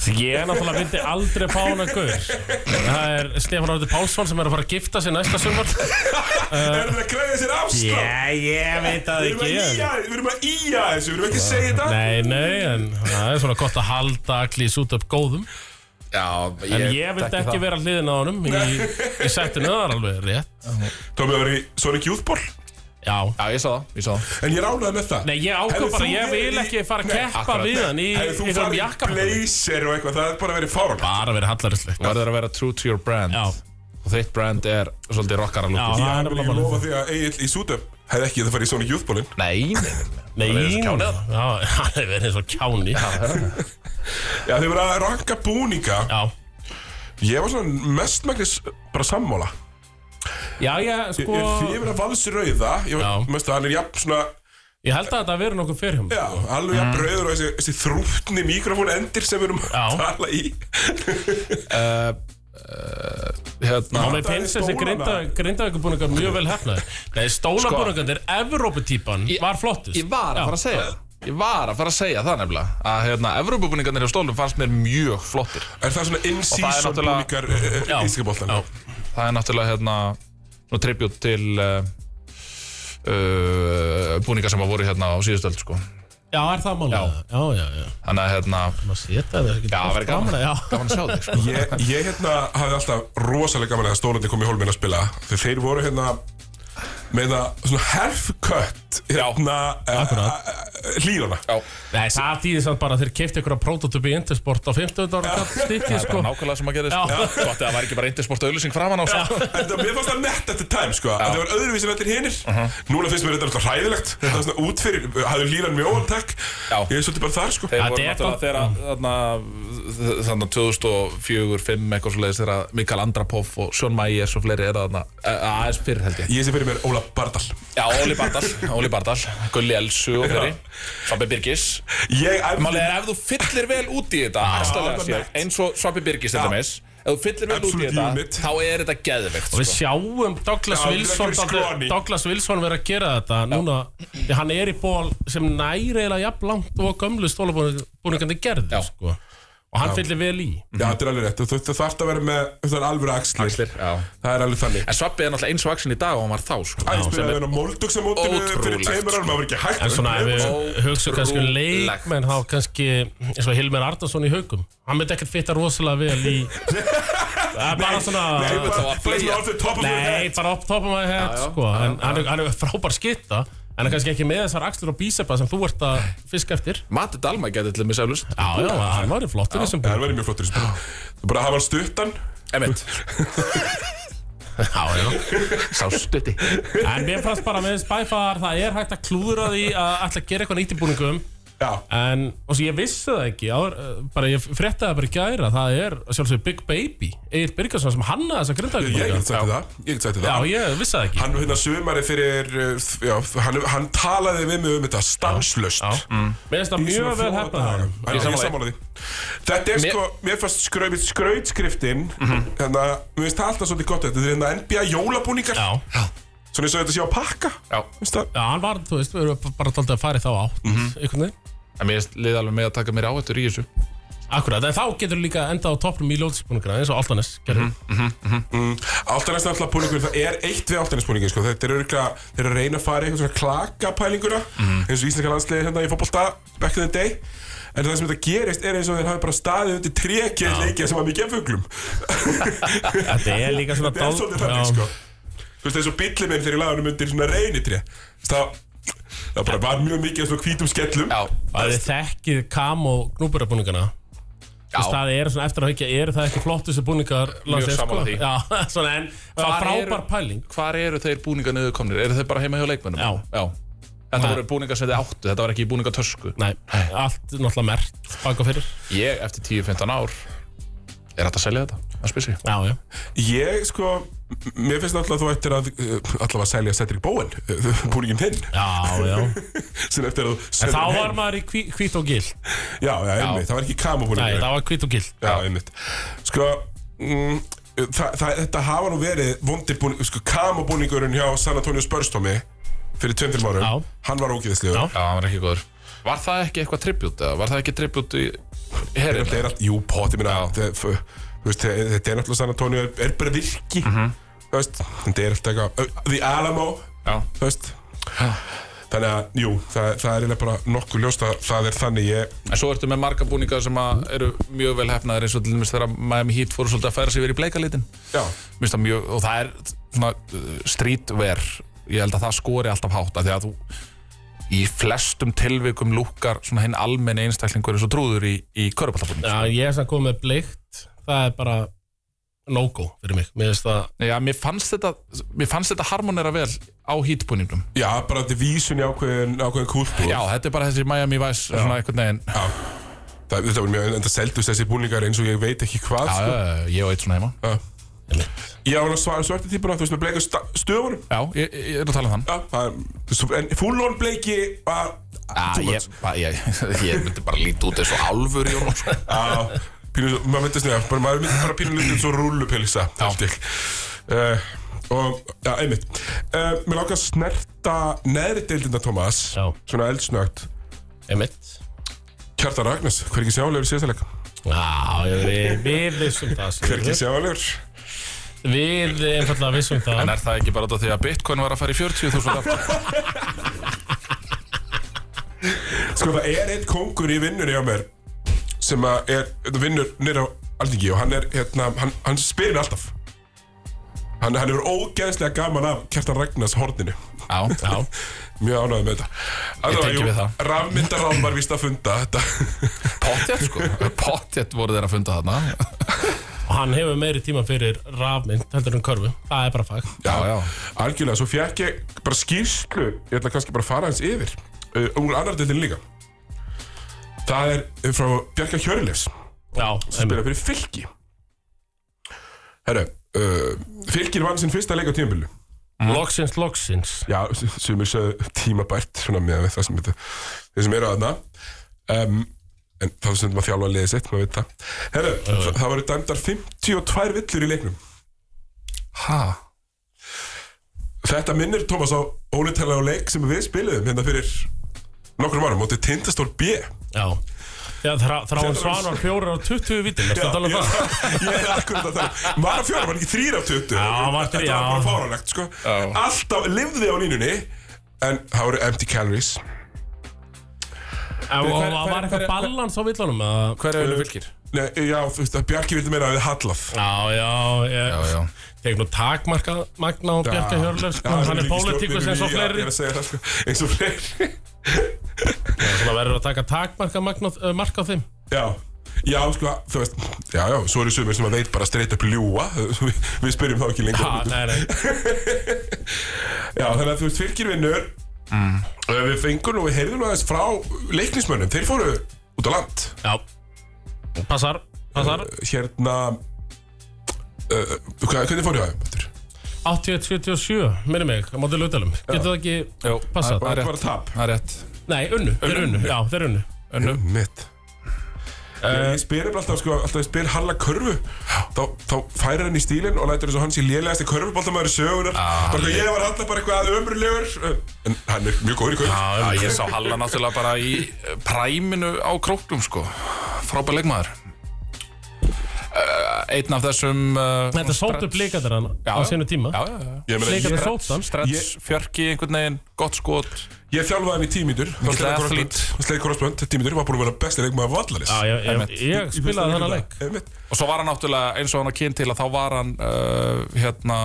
því ég náttúrulega vildi aldrei fá hana gaur Það er Stefán Árður Pálsson sem er að fara að gifta sig næsta sumar Er það að greiða sér afslátt? ég veit Uh, það Við erum að ýja, við erum að ýja þessu, við erum ekki að segja þetta Nei, nei, en það er svona gott að halda allir út upp góðum Já, En ég vildi ekki vera hliðin á honum í, í settinu, það er alveg rétt Tómið, það var í Sonic Youthball Já, Já, ég sá það, ég sá það En ég ránaði með það nei, ég ákvað Hefðir bara, þú ég verið vil í- ekki fara að Nei, keppa akkurat. við hann í Hefði þú einhverjum farið í jakkafötum blazer og eitthvað, það er bara verið fáránlegt Bara verið hallarslegt Verður að vera true to your brand Já, og þitt brand er svolítið já, rockaralúkur það er Ég vil nefnilega ekki málið. lofa því að Egil í Sútöp hefði ekki það farið í Sonic Youthballin Nei, nei, nei, nei. Nei, Það er eins og kjáni. já, Já, hann er verið eins og kjáni Já, þeir voru að ranka búninga Ég var svona mestmægnis bara sammála já, já, Ég sko er hrifin af vals rauða Ég Já. var, mest að hann er jafn svona Ég held að þetta veri nokkuð fyrir hjá mér. Já, alveg jafn rauður og þessi, þessi þrútni mikrofón endir sem við erum Mm. Já. að tala í Hérna, Og með pinsir sem stólana. grindavíkubúningar mjög vel hefnaðir Nei, stólabúningarnir, Evróputýpan var flottust Ég var Já. að fara að segja það Ég var að fara að segja það nefnilega að hérna, Evrópubúningarnir hjá stólum fannst mér mjög flottir Er það svona Og það er in-season náttúrulega- búningar uh, Já. ískaboltan Já. Það er náttúrulega hérna nú tribut til uh, uh, búningar sem að voru hérna á síðustöld sko. Já, er það málið? Já. já, já, já Þannig að hérna Maður setja það ekki Já, verið gaman, Já, gaman að sjá þig sko. Ég, ég hérna hafði alltaf rosalega gaman að stólandi kom í hólminn að spila Þegar þeir voru hérna með það svona herfkött hérna eh, Akkurat. hlýrana Já, Nei, það þýðir samt bara að þeir keifti ykkur að prótotypi í Intersport á 15. ára kall stikki, það sko er nákvæmlega sem að gerist Já. sko. Gott að það var ekki bara intersport auðlýsing framan á sko. En það, mér fannst það nett eftir tæm sko að það var öðruvísi en allir hinnir Núna finnst mér þetta alltaf hræðilegt Það var svona út fyrir, hafði lílan mjög óantekk Já. Ég er svolítið bara þar sko Þeir Þetta voru er náttúrulega bara- þegar að, þarna, þarna 2004, 5 eitthvað svo leiðis þegar að Mikael Andrapoff og Sjón Mæjes og fleiri eru þarna eh, aðeins fyrr held ég Ég sé fyrir mér Óla Bardal Já, Óli Bardal, Óli Bardal, Gulli Elsu og fleiri Svabbi Birgis Ég æfði Málið er ef þú fyllir vel út í þetta það bestalega er séð, nett. eins og Svabbi Birgis til Já. dæmis Ef þú fyllir vel út í Absolute þetta, unit. þá er þetta geðveikt Og við sko. sjáum Já, Douglas þetta er Wilson ekki dálítið- skroni. Douglas Wilson verið að gera þetta núna því hann er í ból sem næri eiginlega jafn langt og gömlu stólabúningandi gerði Já. sko. og hann fyllir vel í Já, þetta er alveg rétt Þú þú þarft að vera með, þetta er alveg axlir Axlir, já. Það er alveg þannig En Svabbi er náttúrulega eins og aksin í dag og hann var þá sko. Æ, ég spilaði hérna Moldux á mótinu fyrir Ótrúlegt, tveimur árum, það var ekki hægt en svona ef við hugsa kannski um Ótrúlegt. leikmenn þá kannski eins og Hilmer Arnason í haugum hann myndi ekkert fitta rosalega vel í það er bara svona Nei, nei, bara, það var bara svona fleygja. orðið top of your head bara upp topum að hett já, sko. en hann er, hann er frábær skitta en hann er kannski ekki með þessar axlur og bísepa sem þú ert að fiska eftir Matti Dalma getið til þess eflust já, já, hann var í flottur í þessum Það verður mjög flottur í spil Þú bara hafa hann stuttan Emitt, Já, já. sá stutti En mér fannst bara með spæfaðar, það er hægt að klúðra því að ætla að gera eitthvað nýtt í búningum Já, En, og svo ég vissi það ekki, áður, eh, bara ég fréttaði það bara í gæra, það er sjálfsögur Big Baby, Egil Birgarsson sem hannaði þessa ég get grindavík sagt þér það Ég get sagt þér Já, það ég vissi það ekki Hann hérna sumari fyrir uh, já, hann, hann talaði við mig um þetta stanslust Já, mér finnst það mjög vel hefnað það það Ég sammála sammála því Þetta er sko, mér fannst skraut, skrautskriftin Þannig að, mér finnst það alltaf svolítið gott Þetta er hérna NBA jólabúningar Já, já, Svona eins og þetta sé á pakka Já. Veist það? hann var, þú veist, við erum bara tóltið að fara í þá átt, einhvern veginn En mér liði alveg með að taka mér áhættur í þessu Akkurat, en þá getur líka enda á toppnum í ljóðsbúningra eins og Altanes gerði. Altanes náttúrulega púlingur, það er eitt við Altanes púlingin sko. Þetta er örgulega, þeir eru að reyna að fara í eitthvað svona klakapælinguna Mhm. eins og íslenska landsliði hérna í fótbolta back in the day En það sem þetta gerist er eins og þeir hafi bara staðið undir trekið leikja sem var mikið af fuglum Þetta er líka svona Það er svolítið þannig sko Þú veist eins og billið minn þegar ég laði hann undir svona reynitri Það það bara var mjög mikið af svona hvítum skellum Já, Það er þekkið kam og gnúburabúningana já, Það eru svona eftir að hugja, eru það ekki flottustu búningar landsins, sko? sammála því. Já, svona en það var Hvar frábær eru- pæling Hvar eru þeir búningar niður komnir? Eru þeir bara heima hjá leikmennum? Já. Þetta Nei. voru búningar sem þeir áttu, þetta var ekki í búningatösku Nei, allt náttúrulega mert baka fyrir Ég, eftir 10-15 ár Er þetta að selja þetta? Það spyr sig Já, já Ég sko, m- mér finnst náttúrulega að þú ættir að uh, allavega að selja Cedric Bowen uh, búningin þinn Já, já sem eftir að þú Þá var maður í hví- hvít og gilt Já, já, einmitt, það var ekki Nei, kamabúningur það var hvít og gilt Já, einmitt Sko, mm, það, það, þetta hafa nú verið vondibúningur, sko, kamabúningurinn hjá San Antonio Spörstómi fyrir 2-5 árum, Já. hann var ógeðislegur Já. Já, hann var ekki góður Var það ekki eitthvað tribut eða? Var það ekki tribut í Þetta herinn? er allt, jú, poti minna Þetta er náttúrulega San Antonio er, er bara virki Mhm. Þú veist, Þetta er alltaf eitthvað Ö, The Alamo Já. þú veist. Þannig að, jú, það, það er eiginlega bara nokkuð ljóst að það er þannig ég, En svo ertu með marga búningar sem að eru mjög vel hefnaðir eins og til dæmis þegar Miami Heat fóru svolítið að færa sig verið í bleikalitin Já, Mista mjög, og það er svona uh, streetwear Ég held að það skori alltaf hátt af Því að þú í flestum tilvikum lúkar svona hinn almenni einstaklingur eins og trúður í, í körubaltabúning Já, ég er svona komið með bleikt Það er bara no-go fyrir mig Mér finnst það Já, mér fannst þetta, mér fannst þetta harmonera vel á hítbúningum. já, bara þetta er vísun í ákveðin, ákveðin kúltúr Já, þetta er bara þessi Miami Vice, svona einhvern veginn. Já, Það, þetta var mjög, en það seldust þessi búningar eins og ég veit ekki hvað, já, sko. já, ég og eitt svona heima. Já. Ég á hann að svara svarta típuna, þú veist, með bleika sta- stöfunum. Já, ég, ég er að tala um þann. Já, það er, svo- en full-on bleiki var, Já, ég, ba- ég, ég myndi bara líti út eins og álfur í honum, sko. að, pínu, svo- maður myndist neða, bara, maður myndist bara pínu lítið eins og rúllupilsa, allt ekki. Uh, og, já, einmitt. Uh, mér langar að snerta neðri deildina, Thomas, Já. svona eldsnögt. Emitt Kjartan Ragnars, hver ekki sjálegur í síðasta leik? Já, ég- við, við vissum það Hver Sigurður. ekki sjálegur? Við einfallega vissum það En er það ekki bara þetta því að bitcoin var að fara í 40.000 aftur? Sko það er einn kongur í vinnunni á mér sem að er vinnur nýra á Altingi og hann er hérna, hann, hann spyrir mig alltaf Hann, hann er ógeðslega gaman af Kjartan Ragnars horninu Já, já. Mjög ánægð með þetta Alltaf, tengi við það. Rafmyndarám var vist að funda þetta Pottjett, sko. Pottjett voru þeir að funda þarna. Og hann hefur meiri tíma fyrir rafmynd heldur en körfu Það er bara fag Já, já. Algjörlega, svo fekk ég bara skýrslu Ég ætla kannski bara að fara hans yfir uh, Úr annar deildin líka Það er uh, frá Bjarka Hjörleifs Já, spila einmitt fyrir fylki Herru, uh, fylkir vann sinn fyrsta leik á tímabilinu Loksins, loksins Já, sem er sögðu tímabært svona með það sem þetta þeir sem eru aðna um, en þá sem maður þjálfa að liða sitt, maður veit það Herru, það, það voru dæmdar 52 villur í leiknum Hæ? Þetta minnir, Tómas, á ónýttalega leik sem við spiluðum hérna fyrir nokkrum árum, mótið Tindastól B Já Já, þrá, þráin Svan var fjórar og 20 vítin Ertu að tala um ég, það? ég er akkurat að tala um- Var að fjóra, var ekki þrýr af 20 hann var þrír, Þetta var bara já. fáránlegt sko. Alltaf lifði á línunni En það voru empty calories Og hver- og var hver- eitthvað hver- balans á villanum? eða? Hver er unnu fylgir? Nei, já, þú veist að Bjarki vildi meira að við hallað Já, já, ég, Já, já. Tek nú takmarka Magna og Bjarka Hjörleif sko, Já, Hann er líka í pólitíkus stjórninni, eins og já, fleiri Ég er að segja það sko, eins og fleiri Svona verður að taka takmarka magna, uh, marka á þeim Já, já, sko, þú veist Já, já, svo eru sumir sem að veit bara straight up ljúa Við við spyrjum þá ekki lengur Ha, nei, nei Já, þannig að þú veist, fylgir vinnur mm. Við fengum nú, við heyrðum nú aðeins frá leiknismönnum Þeir fóru út á land Já Passar, passar hérna uh, hvað, hvernig fór ég að þeim? 81-77, minni mig, á móti lautalum Getur það ekki passað? Bara, bara tap Það er rétt. Nei, unnu, þeir unnu Já, þeir unnu Önnu Mitt Ég ég spyr nefnilega alltaf, sko, alltaf ég spyr Halla körfu þá, þá færir hann í stílinn og lætur eins og hann sé lélegasti körfuboltamæður sögunar bara hvað Ah, ég var alltaf bara eitthvað ömurlegur en hann er mjög góður í körfu Já, ég sá Halla náttúrulega bara í eh, præminu á króknum, sko. Frábær leikmaður. Eh, einn af þessum uh, Þetta sótu blikandir hann Já, á já. sinu tíma Já, já, já Ég meina, Blikandir ég, sótan Stretch, fjörki einhvern veginn, gott skot ég þjálfaði mig tímyndur Mikill athlete. Sleik Korsbund, tímyndur, var búin að vera besti leikmaður vallarins Já, ég, ég, ég spilaði þannig leik Og svo var hann náttúrulega eins og hann að kyn til að þá var hann uh, hérna,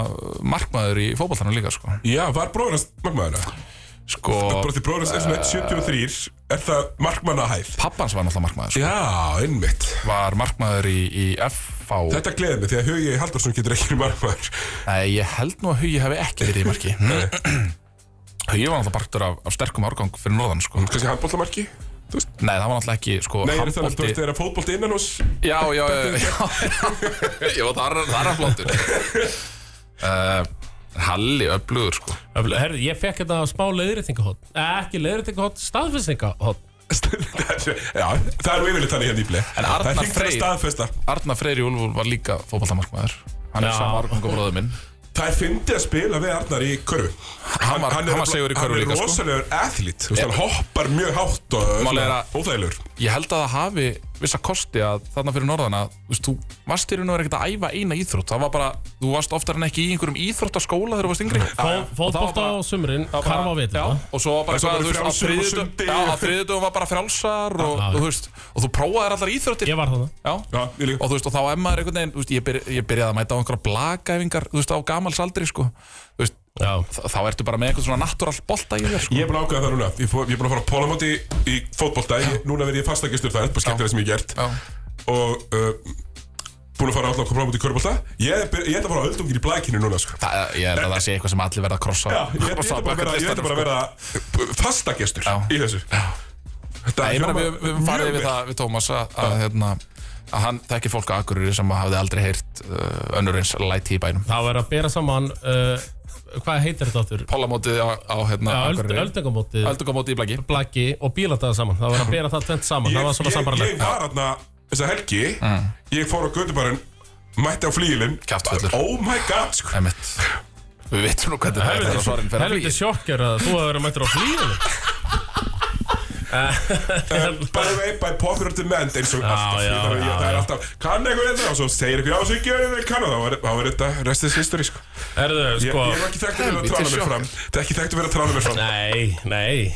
markmaður í fótballtanum líka sko. Já, var bróðurins markmaðurna sko, Bróði bróðurins er svona 173 Er það markmanna hæð? Pappans var náttúrulega markmaður sko. Já, einmitt Var markmaður í, í FH Þetta gleði mig því að Hugi Haldarsson getur ekki verið markmaður Nei, ég held nú að Hugi hefði ekki verið í marki Hugi var náttúrulega partur af, af sterkum árgang fyrir norðan sko. Nei, Kanski handbóltamarki? það var náttúrulega ekki sko, Mm. Nei, er það að þú handbolti- veist, það er að fótbolti innan hús Já, já, já, já. Jó, það er, það er hann flottur uh, Halli öflugur sko. Öfl- Herðu, ég fekk þetta smá leiðréttingahot Ekki leiðréttingahot, staðfestingahot Já, það er nú yfirleitt þannig hérna í blei En Arnar Það er hringt til að Freyr- staðfesta Arna Freyri Úlfur var líka fótballtamarkmaður Hann er Já. saman árgang og bróður minn Það er fyndið að spila við Arnar í körfu Hann var- hann var nefnilega- segur í körfu líka, Hann sko. er rosalegur athlít Þú veist, hann Já. hoppar mjög hátt og Málið er svona að- óþægilegur Ég held að það hafi vissa kosti að þarna fyrir norðan að þú veist, þú varst í raun og verið ekkert að æfa eina íþrótt það var bara, þú varst oftar en ekki í einhverjum íþróttaskóla þegar þú varst yngri Fótbolta á sumrin, karfa á Já, veturna og svo var bara Það var eitthvað, þú veist, á frjálsur og þriðjudögum sundi. Já, á þriðjudögum var bara frjálsar og, Já, já. og þú veist, og þú prófaðir allar íþróttir Ég var þannig Já, Já, ég líka og þú veist, og þá er maður einhvern veginn, þú veist, ég, byrja, ég byrjaði að mæta á einhverja blagæfingar, þú veist, á gamalsaldri, sko Þú veist, Já, þ- þá ertu bara með einhvern svona natúral bolta í þér, sko Ég er búin að ákveða það núna Ég fó- ég er búin að fara á pólamóti í fótbolta Ég- Núna verð ég fastagistur þar, bara skemmtilega sem ég hef gert Já, Og uh, búin að fara alltaf á pólamóti í körfbólta Ég er byr- ég ætla að fara á öldungir í blækinu núna sko. það, ég held að það sé eitthvað sem allir verða að krossa Já, ég ég ætla bara að vera- ég ætla bara að vera fastagestur sko. Já. í þessu Þetta Nei, ég meina, hljómar við, við höfum farið mjög við vel. það við Tómas að, að, hérna, að hann þekkir fólk á Akureyri sem hafði aldrei heyrt uh, önnur eins læti í bænum. þá er að bera saman uh, Hvað heitir þetta áttur? Pólamótið á, á hérna, Öld, Akureyri. Öldungamótið, Öldungamótið í blaki. blaggi og bíladaði saman Það var að bera það tvent saman, það var svona ég, ég sambarlegt var hérna þessa helgi Mm. Ég fór á Götubarinn Mætti á flíilinn Kjaftfullur. Oh my god sko. Emitt. Við veitum nú hvernig það er þegar svarinn fer að Helviti flýja. sjokkar að þú hefur verið mættur á flýðinu Um, By the way, by popular demand eins og alltaf já, Það er- já, ég- það er alltaf Kann eitthvað þetta og svo segir eitthvað Já, svo gerum við kann og þá er- Þá er þetta restið history sko. Herðu, ég, sko ég var ekki þekkt að vera að Helvíti trána mér sjokk. fram Það er ekki þekkt að vera að trána mér fram Nei, nei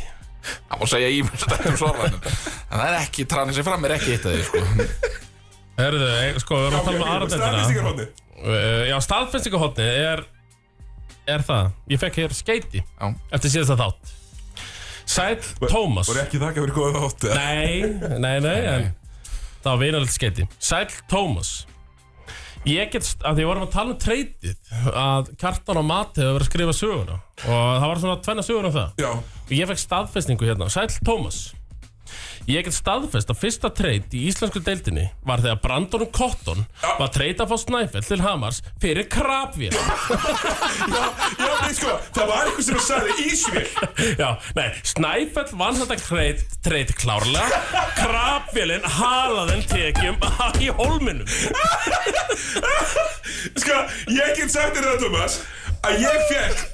Það má segja í mjög stættum svarvarnum. um En það er ekki, tranið sér fram er ekki eitt af því, sko. Herðu, eh, sko, við erum að tala um aðradeldina Staðfestingarhóndi Uh, Já, staðfensingahotni er Er það Ég fekk hér skeiti Já. Eftir síðasta þátt Sæll Tómas Voru ekki þakka fyrir góða þátt eða? Nei, nei, nei en, Það var vinalegt skeiti Sæll Tómas Ég get, st- af því við vorum að tala um treytið Að Kjartan og Mati hefur verið að skrifa söguna Og það var svona tvenna sögur um það Já, Og ég fekk staðfestingu hérna Sæll Tómas Ég get staðfest að fyrsta treyt í íslensku deildinni var þegar Brandon Cotton var treyta fá Snæfell til Hamars fyrir krabvél. já, nei sko Það var einhver sem sagði Ísvél Já, nei, Snæfell vann þetta treyt, treyt klárlega. Krabvélin halaðin tekjum í holminum. Sko, ég get sagt þér það, Thomas Að ég fekk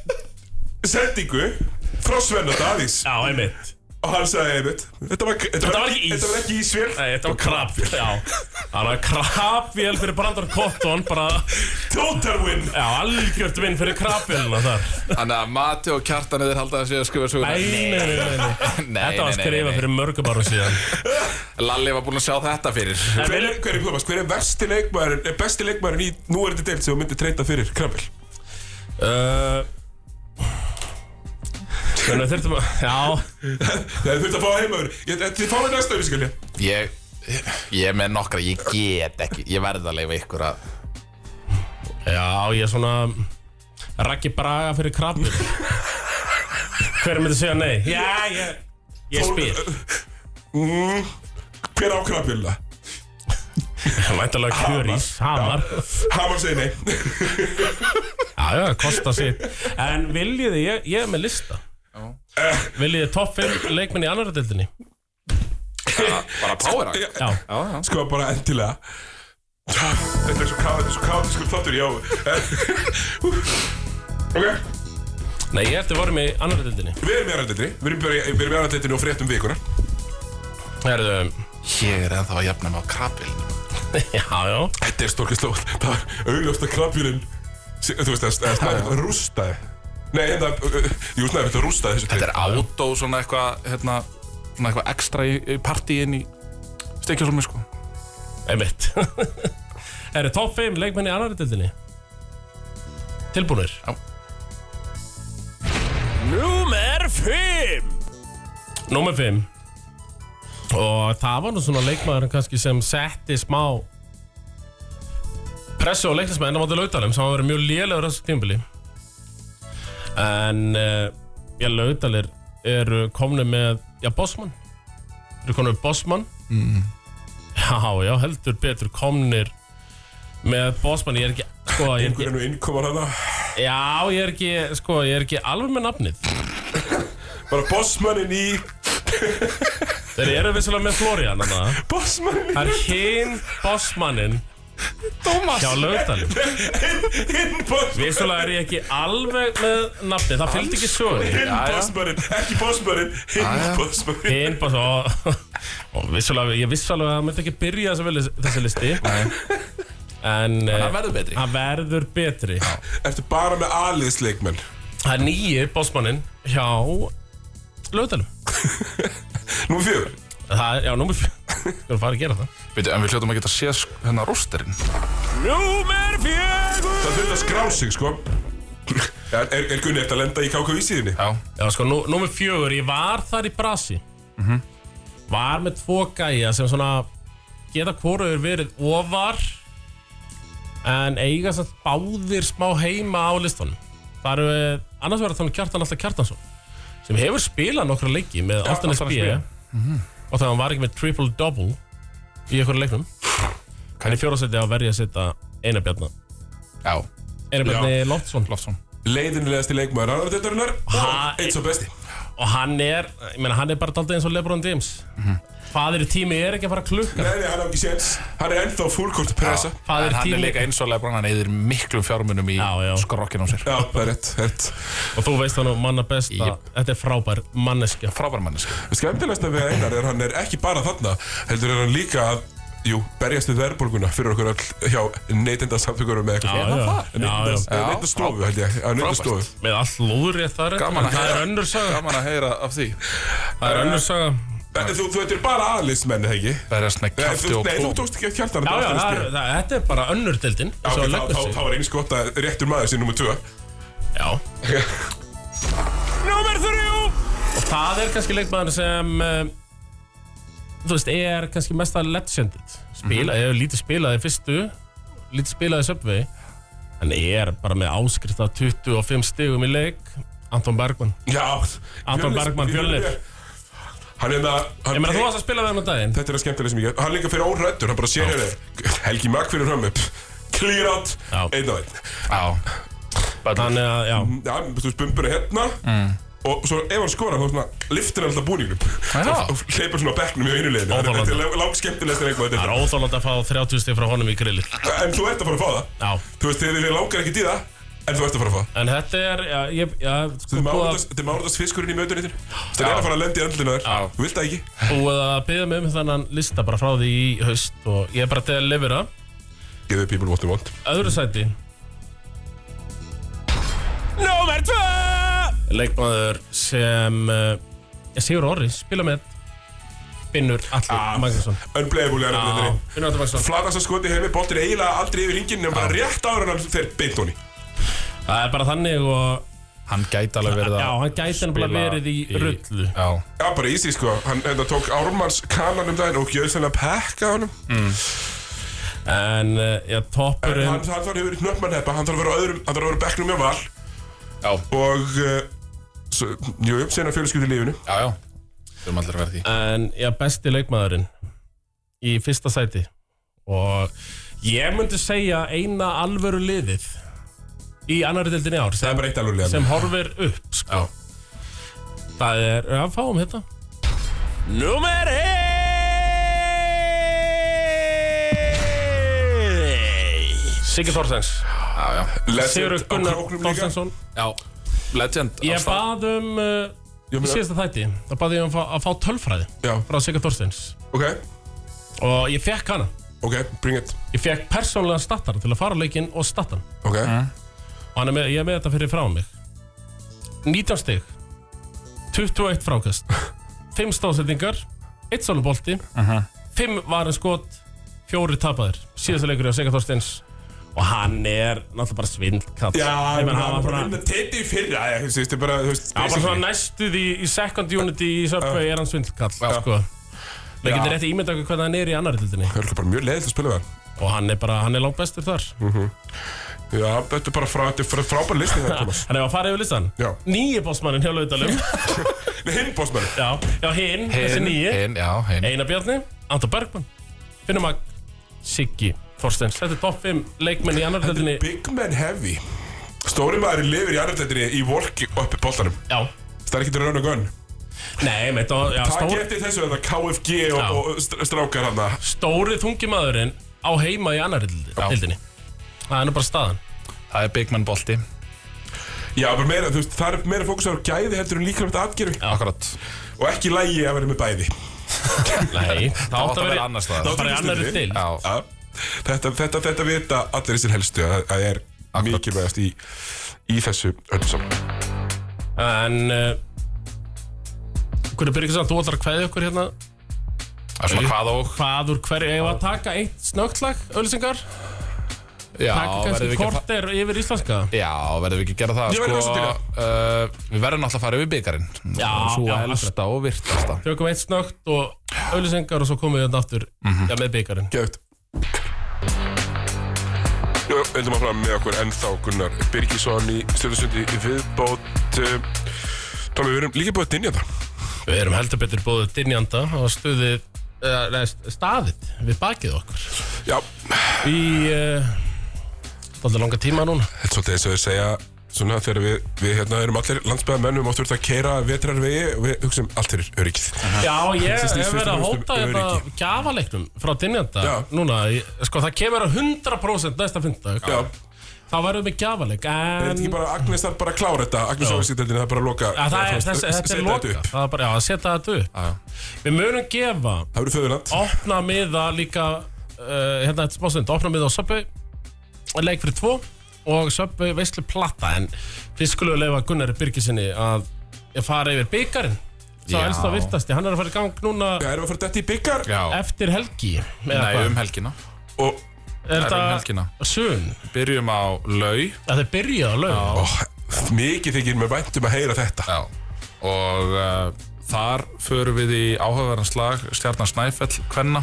sendingu frá Svenna Davís Já, einmitt. Og hann sagði einmitt Þetta var, þetta var ekki ís. Þetta var ekki ísvél Nei, þetta var krabvél. Já, það var krabvél fyrir Brandon Cotton, bara, Total win já, algjört vinn fyrir krabvélina þar. Þannig að Mati og Kjartan yfir haldaði sig að skrifa söguna. Nei, nei, nei, nei, nei. nei, Þetta var nei, nei, skrifað nei. fyrir mörgum árum síðan. Lalli var búinn að sjá þetta fyrir. Hver er, hver er, Thomas, hver er versti leikmaðurinn, er besti leikmaðurinn í núverandi deild sem þú myndir treyta fyrir Krabbel? Uh, Þannig að þurftum að Já, Það er þurft að fá heimaður. Ég- Þið þið fáið næsta öfri, skilja. Ég, ég er með nokkra, ég get ekki, ég verð að leifa ykkur að já ég er svona Raggi Braga fyrir krabbi Hver myndi segja nei? Já, ég, ég spyr Mm, hver á Krabbelina? Væntalega kjörís, hamar Hamar segir nei. Já, já, kosta sitt En viljið þið, ég, ég er með lista Viljið þið topp 5 leikmenn í annara deildinni? bara power rank. Já, Sko bara endilega. Þetta er svo kátt, þetta er svo kátt, sko þáttur, já. ok, nei, ég ætti vorum í annara deildinni við erum í aðrættindri. Við erum bara í- við erum í aðrættindri og fréttum vikuna. Herðu, Ég er ennþá að jafna mig á krabil Já, já Þetta er stórkislóð Það var augljóft að krabbjúlin Þú veist að snæfell rústaði Nei, hérna, uh, jú, snæfell rústaði þessu Þetta er átó svona eitthvað hérna, svona eitthvað ekstra í, í partíin í steikjásólmi sko Einmitt Er það top 5 leikmenni í annari dildinni? Tilbúnir Já. Númer 5 Númer 5 Og það var nú svona leikmaður kannski sem setti smá pressu á leiknismenn á móti lautalum sem hafa verið mjög lélegur á þessu tímbili En uh, ég lautalir eru komni með já, Bosman eru komni með Bosman Já, já, heldur betur komnir með Bosman, ég er ekki, sko, ég er Einhvern ekki, veginn og innkomar hana já, ég er ekki, sko, ég er ekki alveg með nafnið. Bara bossmannin í Þeir eru vissulega með Florian, þannig að Bossmannin það er hinn Bosmaninn hjá lögdalum. í Hinn Vissulega er ég ekki alveg með nafnið, það fylgdi ekki sögur. bossmannin Ekki bossmannin Hinn bossmannin Hinn Bosmaninn, og, og vissulega, ég vissi alveg að það myndi ekki byrja þessi, vel- þessi listi. En eh, Það verður betri það verður betri. Ertu bara með aliðsleikmenn Það er nýji Bosmaninn hjá lögdalum. Nú fjögur Það, er- já, númer fjör Við erum farið að gera það Veitu, En við hljóttum að geta séð sk- hérna rústerinn Númer fjögur Það þurfti að skrá sig, sko Er, er, er Gunni eftir að lenda í KKV-síðinni? Já, Já, sko, nú, númer fjögur Ég var þar í brasi Var með tvo gæja sem svona Geta hvoruður verið ofar En eiga samt báðir smá heima á listunum Það eru eh, annars verður þannig Kjartan alltaf Kjartansson Sem hefur spilað nokkra leiki með Altanis B Álftanes B. Og þannig að hann var ekki með triple-double Í einhverju leiknum Hann er fjórasetti að verja að setja Einar Bjarnar já, Einar Bjarni Loftsson Loftsson Leiðinlegasti leikmaður annar deildarinnar Ha- og eins og besti og hann er, ég meina, hann er bara daldið eins og Lebron James fadir í tími er ekki að fara að klukka Nei, nei, hann á ekki séns Hann er ennþá fullkort pressa fadir í En hann er tími líka eins og Lebron, hann eyðir miklum fjármunum í Já, já. skrokkin á sér Já, það er rétt, rétt og þú veist hann og manna besta þetta er frábær manneskja Frábær manneski Skemmtilegsta við Einar er að hann er ekki bara þarna heldur er hann líka að jú, berjast við verðbólguna fyrir okkur all hjá neytindasamtökurum með eitthvað já, já, já, Neytindastofu held ég, að neytindastofu með allt lúðrétt þar er Gaman að það er heyra. önnur saga Gaman að heyra af því það er önnur saga En þú, þú þetta er bara aðlinsmenn, eða ekki? Berjast með Nei, kæfti þú, og nei, þú klóm tókst ekki að kjartan já, já, það er, það, þetta er bara önnur dildin Já, ok, þá, þá, þá var eins gott að réttur maður sér nummer 2 já. Númer þrjú og það er kannski leikmaður sem eh, þú veist, er kannski mest að legendið spila, Mhm. mm lítið spilaði í fyrstu lítið spilaði í Subway en er bara með áskrift af 25 stigum í leik Anton Bergman Já, Anton Fjölnir- Bergmann, Fjölnir. Hann er það ég meina þú varst að spila við hann á daginn Þetta er að skemmtilega sem ég gef. Hann líka fyrir órættur, hann bara sér henni. Helgi Magg fyrir hömmu. Clear out. Já. Einn á einn. Já þannig að, já, Mhm. Já, þú veist, bumbur er hérna. Mm. Og svo ef hann skorar, þá svona, liftir hann alltaf búningnum. Já. Og hleypar svona á bekknum í einu leiðinu. Þannig að Þetta er langt skemmtilegast en eitthvað það er þetta. óþólandi að fá 30 stig frá honum í grilli En þú ert að fara að fá það. já, Þú veist, þið þið langar ekki í það, en þú ert að fara að fá það. en þetta er já, ég, já, sko, Þetta er búið mánuddags- að- þetta er mánudast fiskurinn í mötunni þér. Það er að fara að lendi andlina þér. Þú vilt það ekki? búið að byggja mig um þannan lista bara frá því í haust og ég er bara til að lifira Geðu people what they want. öðru sæti Númer tvö leikmaður sem uh, Sigur Orri spila með Binnur Alli Magnússon Unplayable er hann Já, þér. Binnur Alli Ah. Magnússon Flatast að skoti heimi, boltin eiginlega aldrei yfir hringin nema bara rétt ára en hann fer beint honi. það er bara þannig og Hann gæti alveg verið að já, hann gæti hann bara spila verið í í- rullu Já Já, bara easy sko, hann þetta tók Ármanns kanan um daginn og gjöðs hann að pekka honum en En uh, já, hann, hann toppurinn þarf að vera knöppmannheppa, hann þarf að vera á öðrum, hann þarf að vera á bekknum hjá val Já, Og, uh, svo, jú, jú, sena fjölskyldi lífinu já, já Við erum allir að vera því en já, besti leikmaðurinn í fyrsta sæti og ég myndi segja eina alvöru liðið í annari deildinni í ár Það er sem, bara eitt alveg liðan sem horfir upp sko. það er, já, fáum hérna. þetta Númer eitt Siggi Þorsens, Já, já Sigur Legend á Gunnar króknum líka. Þorsensson Já Legend Ég ástæða. bað um uh, Ég í meina- síðasta þætti þá bað ég um að fá, að fá tölfræði Já, frá Sigur Þorsteins ok, og ég fekk hana ok, bring it Ég fekk persónulega stattar til að fara á leikinn og stattan Ok, og hann er með, ég er með þetta fyrir frá mig 19 stig 21 frákast 5 stóðsendingar 1 sólubolti 5 varin skot 4 tapaðir síðasta leikur hjá Sigga Þorsteins og hann er náttúrulega bara svindkall Já, hann var bara svona vinna titi í fyrra Já, þú veist, þetta er bara, þú veist hann var bara svona næstuð í, í second unity í Subway er hann svindkall sko. það getur rétt ímynda okkur hvernig hann er í annari tildinni Það er örugglega bara mjög leiðilegt að spila við hann og hann er bara, hann er langt bestur þar Já, þetta er bara frá, þetta er frá- frábær listi það, Thomas hann er að fara yfir listan Já. nýji bossmannin hjá Laudalum Nei, hinn bósmæri já, já hinn, þessi nýji Hinn, já, hinn Einar Bjarni, Anton Bergman Finnum Mag, Siggi Þorsteins Þetta er topp 5 leikmenn í annar tildinni Big Man Heavy Stóri maður lifir í annaðtættinni í volki og uppi bóltanum Já, Það er ekki til raun og gunn nei, með þetta var- já, Það stór, getur þessu þetta KFG Já. og, og str- strákar hann að- stóri þungimaðurinn á heima í annar tildinni Það er nú bara staðan Það er Big Man bolti Já, bara meira, þú veist, það er meira fókus á gæði heldur en líklega atgerfi Akkurat Og ekki lægi að vera með bæði Nei, það átti að vera annars staðar. Það bara í annar Stundinni. tild Já, Já, þetta, þetta, þetta vita allir þessir helstu að það er mikilvægast í, í þessu öllu saman. En uh, Hvernig byrjum samt, þú ætlar að kveðja okkur hérna það er svona hvað og Hvað úr hverju, eigum við að taka eitt snögt lag, öllisingar Já, Taka verðum kannski við ekki að fa- korter yfir íslenska Já, verðum við ekki að gera það sko, Ég verð rosa til í uh, Við verðum náttúrulega að fara yfir byggarinn Já, Sú já, elsta og virtasta Tökum eitt snögt og öllisingar og svo komum við hérna aftur Mhm. Já, með byggarinn Gjöft. Nú höldum að fram með okkur ennþá Gunnar Birgisson í stjórnarsundi í viðbót. eh, Tómi, við erum líka búið að dynja það. Við erum heldur betur bóðið dynjanda og stuðið, eh, nei, staðið við bakið okkur Já, í uh, alltaf langa tíma núna. þetta er svolítið eins og við segja svona þegar við, við hérna erum allir landsbæðamennum og þurfum að keira vetrarvegi og við hugsaum allt fyrir öryggið. Já, ég Þetta snýst hef verið að fyrst og hóta fremst um þetta gjafaleiknum frá dynjanda Já. núna. Ég, sko, það kemur að 100% næsta fyndag. Já, Þá verðum við gjafaleik, er en... þetta ekki bara Agnes þarf bara að klára þetta, Agnes Óvísíteldin, það er bara að loka. Ja, það er, þú veist, þess, þetta setja er þetta loka, upp. það er bara, já, að setja þetta upp Við munum gefa Það verður föðurland. opna miða líka uh, hérna þetta spásund, opna miða á Subway leik fyrir tvo og Subway veislu platta en fyrst skulum við leifa Gunnari Birgisinni að fara yfir byggarinn svo Já. elst á virtasti, hann er að fara í gang núna Já, erum við að fara dætt í byggar? Já, eftir helgi eða nei, hvað? um helgina Og er Það er um helgina þetta sunn Byrjum á lau að þau byrja á lög ó, mikið þykir mér væntum að heyra þetta. Já, og uh, þar förum við í áhugaverðan slag Stjarnar Snæfell, Kvenna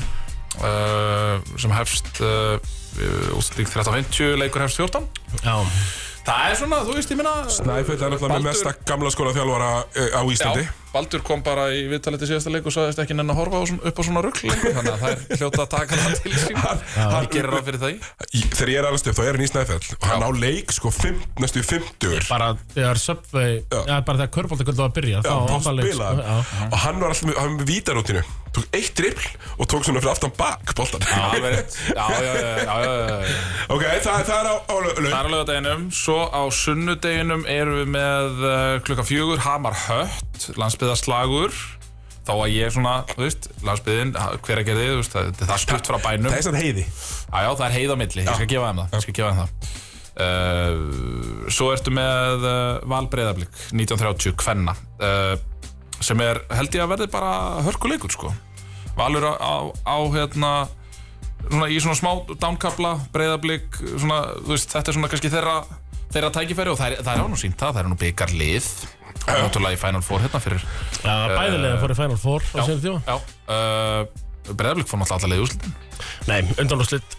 uh, sem hefst uh, útlík 13.50 leikur hefst 14 já, Það er svona, þú veist, ég minna Snæfell er náttúrulega með Baldur- mesta gamla skóla þjálfara á Íslandi. Já, Baldur kom bara í viðtalið til síðasta leik og sagðist ekki nenn að horfa á, svona- upp á svona rugl lengur, þannig að það er hljóta að taka það til sín hann gerir það fyrir það í Í- Þegar ég er alveg stöpt, þá er hann í Snæfell og hann á leik sko fimm, næstu 50 bara þegar Subway já. bara þegar körbóltakvöldu að byrja Já, þá þá átta leik, spila sko, já. og hann var alltaf með, hann var með vítarútinu tók eitt dribl og tók svona fyrir aftan bak boltan Alveg rétt. Já, já, já, já, já, já. ok, það, það er á, á laug Það er á lögadeginum, svo á sunnudeginum erum við með uh, klukka fjögur Hamar Hött, landsbyðarslagur Þá að ég svona, þú veist, landsbyðin, hver að gerði, þú veist, það, það er stutt frá bænum það er sann heiði Já, já, það er heiða á milli, ég skal gefa þeim það, ég skal gefa þeim það. Uh, svo ertu með uh, Valbreiðablík 1930, Kvenna, uh, sem er, held ég að verði bara hörkuleikur, sko. Valur á, á, á hérna, svona, í svona smá dánkabla, Breiðablík, svona, þú veist, þetta er svona kannski þeirra, þeirra tækifæri og það er, það er á nú sínt það, það er nú byggar lið, náttúrulega í Final Four hérna fyrir já, bæðilega fór í Final Four á sinni tíma Eh, Já, uh, Breiðablík fór náttúrulega allavega í úrslitin. nei, undan og slitt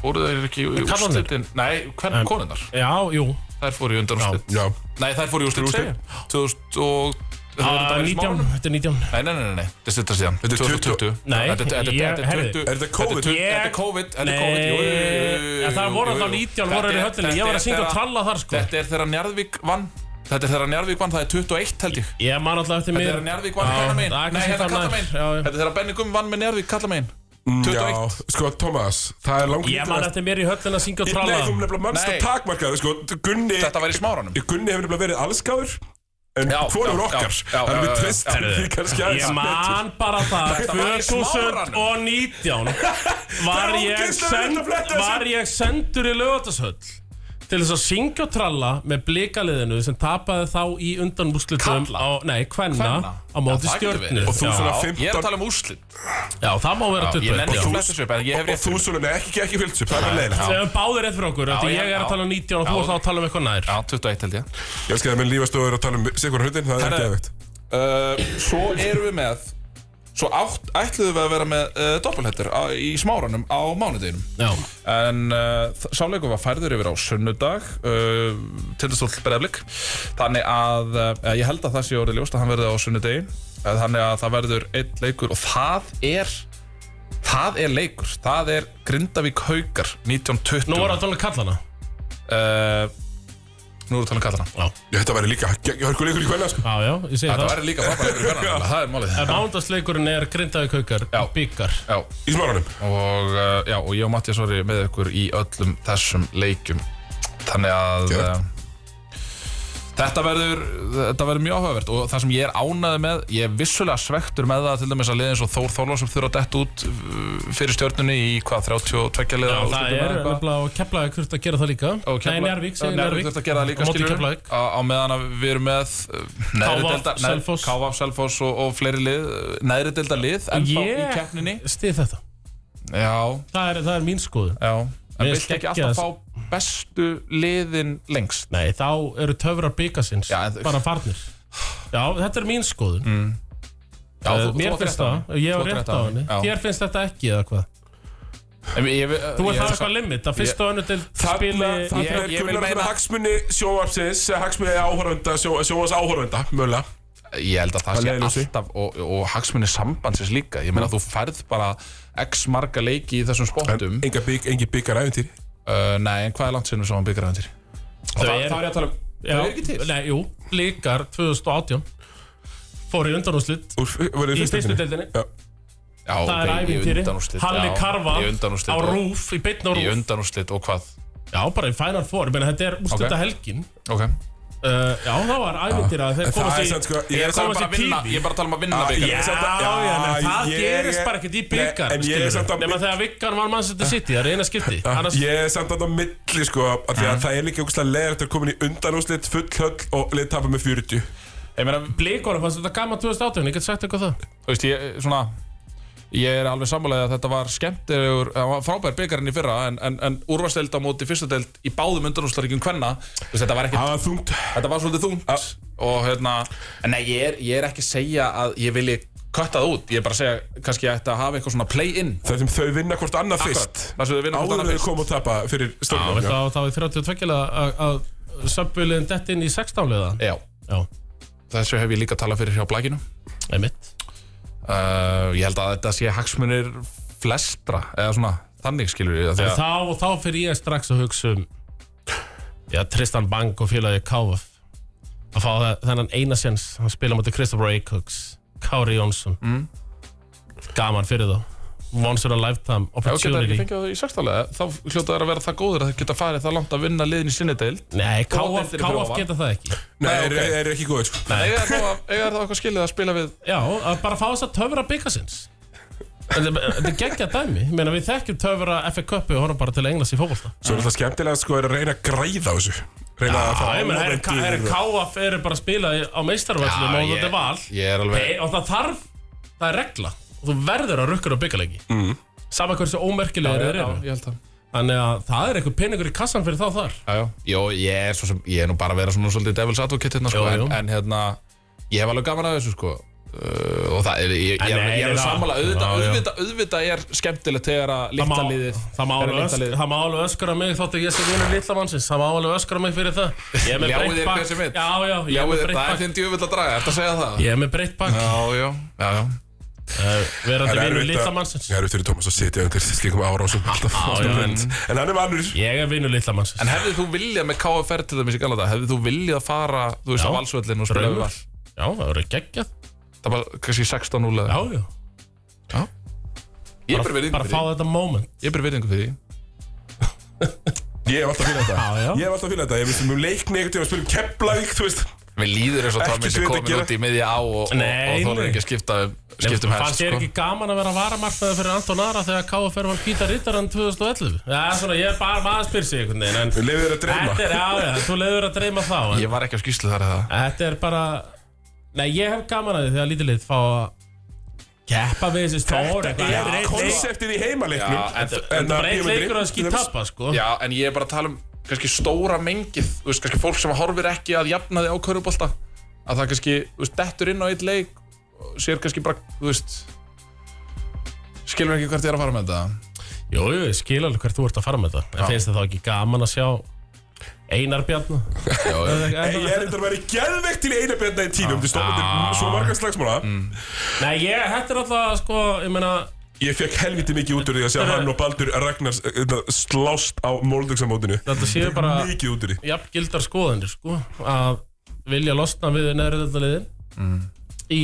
Fóruð þeir ekki í karlarnir? úrslitin? Nei, hvernig En- konundar? já, jú, Þær fóru í undan úrslit já, Nei, þær fóru í úrslit úrslit? segja 2000 og Það voru Ah, þetta í 19, smáunum? þetta er 19 Nei, nei, nei, nei, nei, þetta er stuttar síðan Þetta er 2020. Nei, Þetta er- þetta er- ég- þetta er herðu. 20. Er þetta COVID? Þetta er 20, þetta er COVID, þetta er COVID jú, jú, jú, jú, jú, En það voru jú, jú. alltaf 19 voru í Þetta er- höllinni þetta Ég var er að syngja og þegar- tralla þar sko Þetta er þegar Njarðvík vann Þetta er þegar Njarðvík vann, það er 21 held ég Ég man alltaf eftir Þetta mér er þegar Njarðvík vann kalla megin það er Nei, kannski þetta það er kalla nær, megin já, já. Mm, Þetta er þegar Benny Gumm vann með Njarðvík kalla megin já, 21 sko Thomas það er langt Ég man eftir mér í höllinni að syngja og Nei, tralla þú nefnilega mannst að Nei. takmarkaðu, sko, Gunni, Þetta var í smáranum Gunni hefur nefnilega verið allskáður en Já, hvorur já, okkar já, já, þannig já, við já. treystum Herðu, því kannski Ég aðeins betur. man bara það var í Smáranum. 2019 var Það er ég, hérna ógeðslega erfitt send, að fletta þessu. var ég sendur í lögatashöll til þess að syngja og tralla með blikaliðinu sem tapaði þá í undanúrslitum á, nei, kvenna Kvenna? á móti Já, það getur stjörnu verið. Og þú já, svona- Já, ég er 15 að tala um úrslit já, það má vera Ég nenni ekki 20 flestis upp en ég hef og rétt þú fyrir mér. svona, nei, ekki, ekki fylgst upp, það er leiðilegt Við höfum báðir rétt fyrir okkur, já, Já, ég já, er að já. tala um 19 og þú Já. ert þá að tala um eitthvað nær Já, 21 held ég Ég elskar það með lífastöður að tala um sigur hlutin, það er Herra. ekki aðvegt uh, Svo erum við með Svo átt, ætluðum við að vera með uh, doppelhettir á, í smáranum á mánudeginum Já, En uh, sáleikum var færður yfir á sunnudag uh, Tindastóll breyðblik Þannig að uh, ég held að það sé orðið ljóst að hann verði á sunnudegi Eh, Þannig að það verður einn leikur og það er Það er leikur, það er Grindavík Haukar 1920 nú voru að tala um kallana uh, Nú erum við talað um kallana Ég þetta væri líka, ég hörgur líkur í kvæla sko. Já, já, ég segi Þetta það væri líka frábæður í hvernig Það er málið Mándagsleikurinn er grindaði kaukar, Já. byggar Já, Í smáranum og, uh, já, og ég og Mattias voru með ykkur í öllum þessum leikjum þannig að Gjört. uh, þetta verður þetta verður mjög áhugavert og það sem ég er ánaði með ég er vissulega svektur með það til dæmis að liða eins og Þór Þorlóf sem þurfa að detta út uh, fyrir stjórnunni í hvað 32 Já, liða það úrslitum er eða eitthvað. nefnilega og keflaði þurft að gera það líka Og Keflavík- Nei, Njárvík, segir Njarðvík Njárvík þurfti að gera það líka Á móti skilurðu. Keflavík. á, á meðan að við erum með uh, KV, Selfoss. Káva, Selfoss og, og fleiri lið uh, neðri delta lið ennþá Ég- í keppninni Stið þetta já, Það er, það er mín skoðun Já, en Mér viltu ekki skeggja alltaf fá bestu liðin lengst? Nei, þá eru töfrar byggasins Já, en þau- Bara farnir Já, þetta er mín skoðun Eh, Já, þú- þú Mér átt finnst rétt á það, henni. ég hef Þú átt rétt á henni Já. Þér finnst þetta ekki eða hvað En ég- ég- Eh, Þú ég- er það eitthvað limit, að um fyrst og önnu til Þarna, spili þarna er ég vil Gunnar meina... meina- hagsmunni sjóvarpsins, hagsmunni áhörvenda, eh, sjó, sjóvars áhörvenda, mögulega. Ég held að það Það sé leiðir þessu. alltaf og, og hagsmunni sambandsins líka Ég meina þú færð bara x marga leiki í þessum spottum En enga bygg, engi byggar æfintýri. uh, Nei, en hvað er langt sinni sem hann byggir aðeins til? Þau eru- ég að tala um Já, Það er ekki til Nei, jú, líkar 2018 Fór í undanúslit Úr, voru Í þið fyrstu deildinni Já. Já, Það er ok, í æfintýri undanúrslit, Halli já, Karva Í á undanúrslit og- rúf, í beitna Í rúf undanúrslit og hvað? Já, bara í Final Four, menn þetta er úrstölda helgin Ok uh, Já, það var ævintýra Þeir En það komast er í samt sko, ég Ég er er bara samt komast í að vinna- TV. ég er bara að tala um að vinna Já, byggarinn ég- Já, já, menn það ég- gerist bara ekkert í byggar Nei, en ég er samt að- Nefna þegar vikar var mannsætti City, það er eina skipti Annars, Ég er samt að það milli sko, af því að það er líka ógustlega leðrætt að komin í undanúslit, full höll og lið tapa með 40. Ég meina, blíkóra fannst þetta gaman 2018 Ég get sagt eitthvað það þú veist, ég, eh, svona ég er alveg sammálaðið að þetta var skemmtilegur það var frábær byggarinn í fyrra en, en, en úrvarsdeild á móti fyrsta deild í báðum undanúslaríkjum hvenna þetta var ekki, Það var þungt. þetta var svolítið þungt og hérna, en nei, ég er, ég er ekki að segja að ég vilji kötta það út ég er bara að segja, kannski ég ætti að hafa eitthvað svona play-in Það sem þau vinna hvort annað fyrst. Akkurat, það sem þau vinna hvort Áður annað þau fyrst. koma og tapa fyrir Og stórnum. veist það, þá er 32 að- að- að Söpbuliðin dett inn í 16 liðan já, Já, þessu hef ég líka talað fyrir hjá blækinu einmitt uh, ég held að þetta sé hagsmunir flestra, eða svona þannig skilur ég, En þá, og þá fyrir ég strax að hugsa um Já, Tristan Bang og félagi Káf að fá það- þennan eina sens hann spila mútið Kristoffer Eikhugs Kári Jónsson mm. gaman fyrir þá once in a lifetime Ef þú geta opportunity ekki fengið það í sextalega, þá hljóta þær að vera það góður að þær geta farið það langt að vinna liðin í sinni deild. Nei, KF, deildir fyrir KF ofan. geta það ekki Nei, Nei, þeir ok. þeir eru ekki góðir sko. Eiga þær þá að- eiga þær þá eitthvað skilið að spila við... Já, að bara fá þess að töfra byggasins Þetta er geggja dæmi Ég meina, Við þekkjum töfra FA Cupi og horfum bara til Englands í fótbolta Svo er það skemmtilega sko er að reyna að græða á þessu. Reyna að fá Það er Sko, áhorfendur og- KF eru bara að spila í- á meistarvöllum og þetta er val Ég er alveg... Nei, og það þarf, það er regla og þú verður að rukkur á byggalegi mm. sama hversu ómerkilegir þeir Já, eru ég held það. þannig að það er einhver peningur í kassan fyrir þá þar Já, já. Jó, ég er svo sem... Ég er nú bara að vera svona svolítið devils advocate hérna, sko. Jú, jú. En, en hérna... Ég hef alveg gaman að þessu, sko. Uh, og það er... Ég, ég, En er- nei, ég er alveg það- sammála. Auðvitað, Já, já. auðvitað, auðvitað er skemmtilegt þegar að það má, litla liðið... það má þegar alveg litla ösk- liðið- það má alveg öskra mig þótt að ég sé vinur litla mannsins það má alveg öskra mig fyrir það Ég er með Ljáið breitt þér bak- hver sem vill. já, já, ég Já, er með við- breytt það er bakk þinn djöfull að draga, ertu að segja það? ég er með breytt bakk Já, já, já, já. uh, verandi Það er vinur erfitt litla að- Það mannsins er auðvitað fyrir Tómas að sitja undir skengum árásum alltaf. já, Svona en- reynd. En hann er vanur. ég er vinur litla mannsins En hefðið þú viljað með KFR til dæmis í Galata, hefðið þú viljað að fara, þú veist, Já. á valsvöllin og spila Draumur. við val? já, það voru geggjað Það var kannski 16-0 eða? já, já Ég ber bara, virðingu bara fyrir fá því. þetta moment Ég ber virðingu fyrir því. Ég hef alltaf fyrir þetta já. Ég hef alltaf fyrir þetta Ég veist um leikni einhvern tíma spilum Keflavík, þú veist Mér líður eins og Ekki Tommy sé sveit að komin gera. út í miðja á og, og, Nei, og þólar nei. ekki að skipta um, skipta um Fannst hest þér sko. ekki gaman að vera varamarknaði fyrir Anton Ara þegar KFR var Píta um Rittarann 2011? Já, svona, ég er bara maður spyr sig einhvern veginn, en... Leifir þér að dreyma Þetta er, já, já, þú leiður að dreyma þá, en... Ég var ekki á skýslu þar eða Þetta er bara Nei, ég hef gaman að því þegar lítið lið fá að keppa við þessi stóri Þetta er konseptið í heimaleiknum Já, en- Þetta Þetta er bara eitt leikur að skýt tappa, sko Já, en ég er bara að tala um kannski stóra mengið, þú veist, kannski fólk sem horfir ekki að jafna þig á körubólta að það kannski, þú veist, dettur inn á eitt leik og sér kannski bara, þú veist skilur ekki hvert ég er að fara með þetta Jú, jú, ég skil alveg hvert þú ert að fara með þetta En finnst þið þá ekki gaman að sjá Einar Bjarnu? Ég er þetta að vera geðveikt til einabjönda í tímum Þú stóðum Já. þetta svo margar slagsmála Nei, ég, þetta er alltaf, sko, ég meina Ég fekk helviti mikið út úr því að sjá hann og Baldur Ragnars eh, eh, slást á Moldöksamótinu Þetta séu bara Mikið út úr því jafngildar skoðanir, sko Að vilja losna við neðri þetta liðin Mm. Í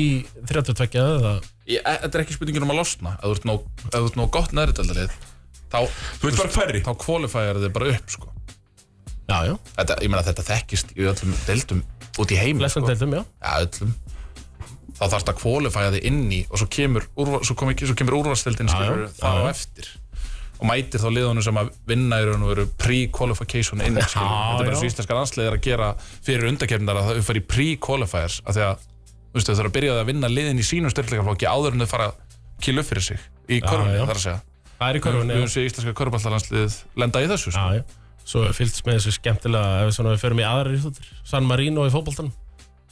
32 eða ég, e- Þetta er ekki spurningin um að losna ef þú ert nóg, ef þú ert nóg gott neðrindaldalið þá, Þú veit bara færri þá kvalifæjar þið bara upp, sko Já, já, þetta, Ég meina, þetta þekkist í öllum deildum út í heim, lesnum deildum, já Já, öllum þá þarf þetta að kvalifæja þig inn í og svo kemur, úrva, svo kom, svo kemur úrvarsdeildin skilur já, það á eftir og mætir þá liðunum sem að vinna í raun og veru pre-qualification inn skilur. þetta er já. bara svo íslenska landslið er að gera fyrir undakefndar að það uppfæri pre-qualifiers af því að þú veist, þau þarf að byrja á því að vinna liðin í sínum styrleikaflokki áður en þau fara að kýla upp fyrir sig í körfunni já. þar að segja Það er í við körfunni, já höfum séð íslenska körfballalandsliðið lenda í þessu sko. Já, já. Svo er fylgst með þessu skemmtilega ef við svona við förum í aðrar íþjóttir San Marino í fótboltan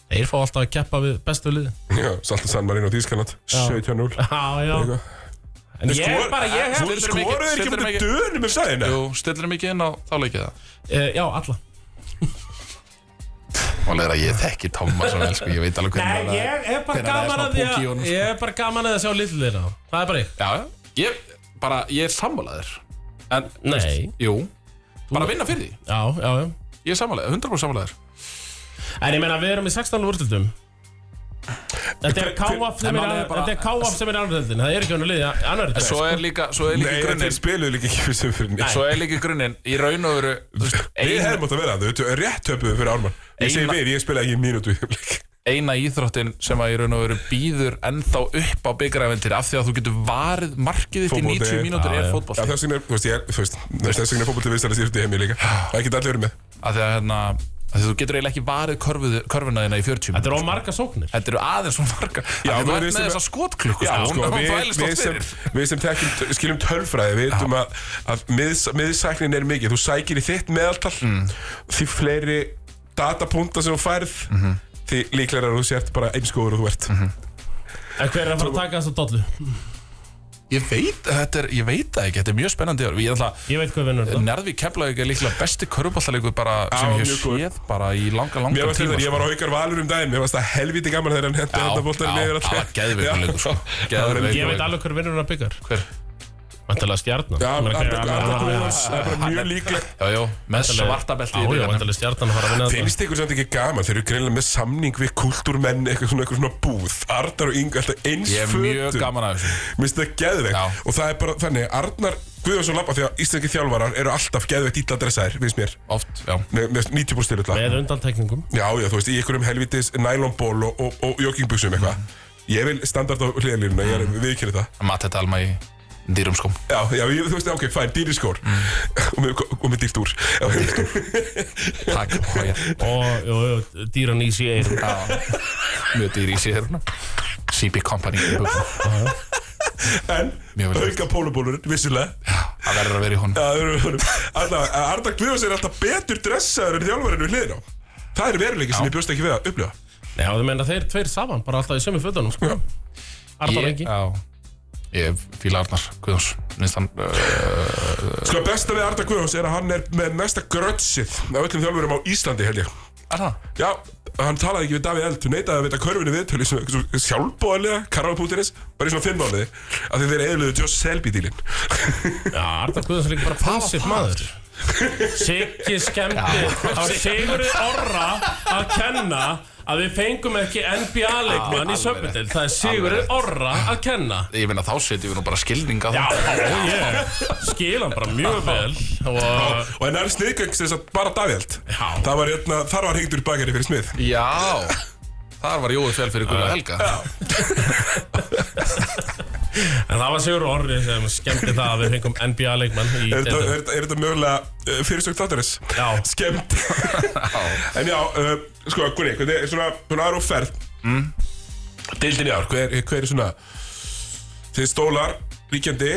Þeir fá alltaf að keppa við bestu liði Já, Salta San Marino Þískaland 17-0 Já, já Eitthvað. En ég skor- bara, ég hef Þú Stillir mikið- skoruður ekki stillir með mikið- dönum um sæðina Jú, stillir mikið inn á þá leikið það Eh, Já, alla Málega er að ég þekki Tómas og vel, sko, ég veit alveg hvernig hann er- hef bara Hvenær það er gaman smá að því að- póki í honum, sko. Ég hef bara gaman að það sjá litlu liðina Það er bara ég Já, já. ég, bara, ég er sammálaður En, Nei, jú Bara vinna fyrir því, já, já, já ég er sammálaður, 100% sammálaður En ég meina, við erum í 16 úrtildum Þetta er Hver- káaf sem En er málið er bara- Þetta er káaf sem er annaðrildin Það er ekki hann að liða annaðrildin Svo er líka, svo er líka Nei, þeir grunninn spiluðu líka ekki fyrir sem fyrir nýtt Svo er líka grunninn, í raun og veru þú veist, Við eina, hefum átt að vera það, þau rétt töpuðu fyrir Ármann Ég segi Eina- við, ég spilaði ekki í mínútu í leik. eina íþróttin sem að í raun og veru býður ennþá upp á byggarævendir af því að þú getur varið markið þitt í Fótbolti. 90 mínútur Já, er já. Já, fótbolti þess vegna er, þú veist, ég er, þú veist Þess vegna er fótbolti viðstæðast í rútið heimi líka Það er ekki allir verið með af því að hérna, af því að þú getur eiginlega ekki varið körfuð, körfuna þína í Þetta 40 er mínútur ómarga sóknir Þetta eru aðeins svona marga Já, við þú ert með vissum- þessa skotklukku Já, sko, hún við, þvælist við, oft sem, fyrir við sem tekjum, t- skiljum tölfræði Við veitum að, að miðs, miðsæknin er mikið Þú sækir í þitt meðaltal Mm. Því fleiri datapunta sem þú færð Mhm. Því líklega er að þú sért bara einskóður og þú ert En hver er að fara að taka þessu dollu? Ég veit, þetta er, ég veit það ekki, þetta er mjög spennandi ár. Ég ætla Ég veit hvað vinnur þetta Nærði Keflavík er líklega besti körubállalegur bara sem ég mjög hef séð bara í langa, Mér langa var tíma sko. þetta, ég var á aukar valur um daginn Mér varst það helviti gaman þegar hann hendi Já, þetta bóltan já, niður það var geðveikur leikur, sko. Geðveikur Ég veit leikur. alveg hver vinnur að byggar Hver? Vantalega stjarnan Já, Ég meina, hver- Arnar- Arnar Guðjóns, það er bara mjög líklegt Já, já, með svartabelti í Já, já, byggarnum vantarlega stjarnan að fara að vinna þetta Finnst ykkur samt ekki gaman? Þeir eru greinlega með samning við kultúrmenn, eitthvað svona, eitthvað svona búð Arnar og Inga alltaf eins Ég er mjög fötum. gaman af þessu Mér finnst það geðveikt Já. Og það er bara þannig, Arnar Guðjónsson Lappa Því að íslenski þjálfarar eru alltaf geðveikt illa dressaðir, finnst mér Oft, já Með, með 90% styrla Með undantekningum Já, já, þú veist, í einhverjum helvitis nælonból og, og, og joggingbuxum Mm. eitthvað Ég vil standart á hliðalínuna, ég er viðkynni það Matti Dalma í dýrum sko. skóm Já, já, ég, þú veist, ok, fæn, dýriskór og, með, og með dýrt úr Dýrt úr Takk, hója Og jú, jú, dýran í sig eirum Mjög dýr í sér CB Company í buxum. En, Mjög vel gert. auka pólubólurinn, vissulega Það verður að vera í honum Já, það eru honum Alltaf, Arndag Guðjóns er alltaf betur dressaður en þjálfarinn við hliðin á Það er veruleiki sem ég bjóst ekki við að upplifa Já, þú meina þeir tveir saman Bara alltaf í sömu fötunum sko. Já. Arnar Ég- Engi Já Ég fíla Arnar Guðjóns Minnst hann uh, Sko, besta við Arndag Guðjóns er að hann er með mesta grötsið af öllum þjálfurum á Íslandi, held ég Er það? Já, hann talaði ekki við Davíð Eld, hún neitaði að vita körfinu viðtölu í svona- svona sjálfbóðanlega, karrafa.is, bara í svona fimm mánuði, af því þeir eðluðu Josh Selby-dílinn. Já, Arnar Guðjóns er líka bara prinsip maður Siggi skemmti á Sigurði Orra að kenna að við fengum ekki NBA-leikmann í söpudel það er Sigurður Orra að kenna Ég meina þá setjum við nú bara skilninga þá. ég skil hann bara mjög vel og Og en það er sniðgöngs þess að bara Davíld Það var hérna, þar var hengdur bakari fyrir smið Já Þar var Jói fel fyrir Guðla Helga en það var Sigurður Orri sem skemmti það að við fengum NBA-leikmann í Er þetta- deildinni. er þetta- er þetta mögulega uh, fyrirsökt þátturins? Já. Skemmt En já, uh, sko, Gunni, hvernig er svona, svona aðra og ferð mm. Deildin í ár, hver, hver er svona Þið stólar, ríkjandi,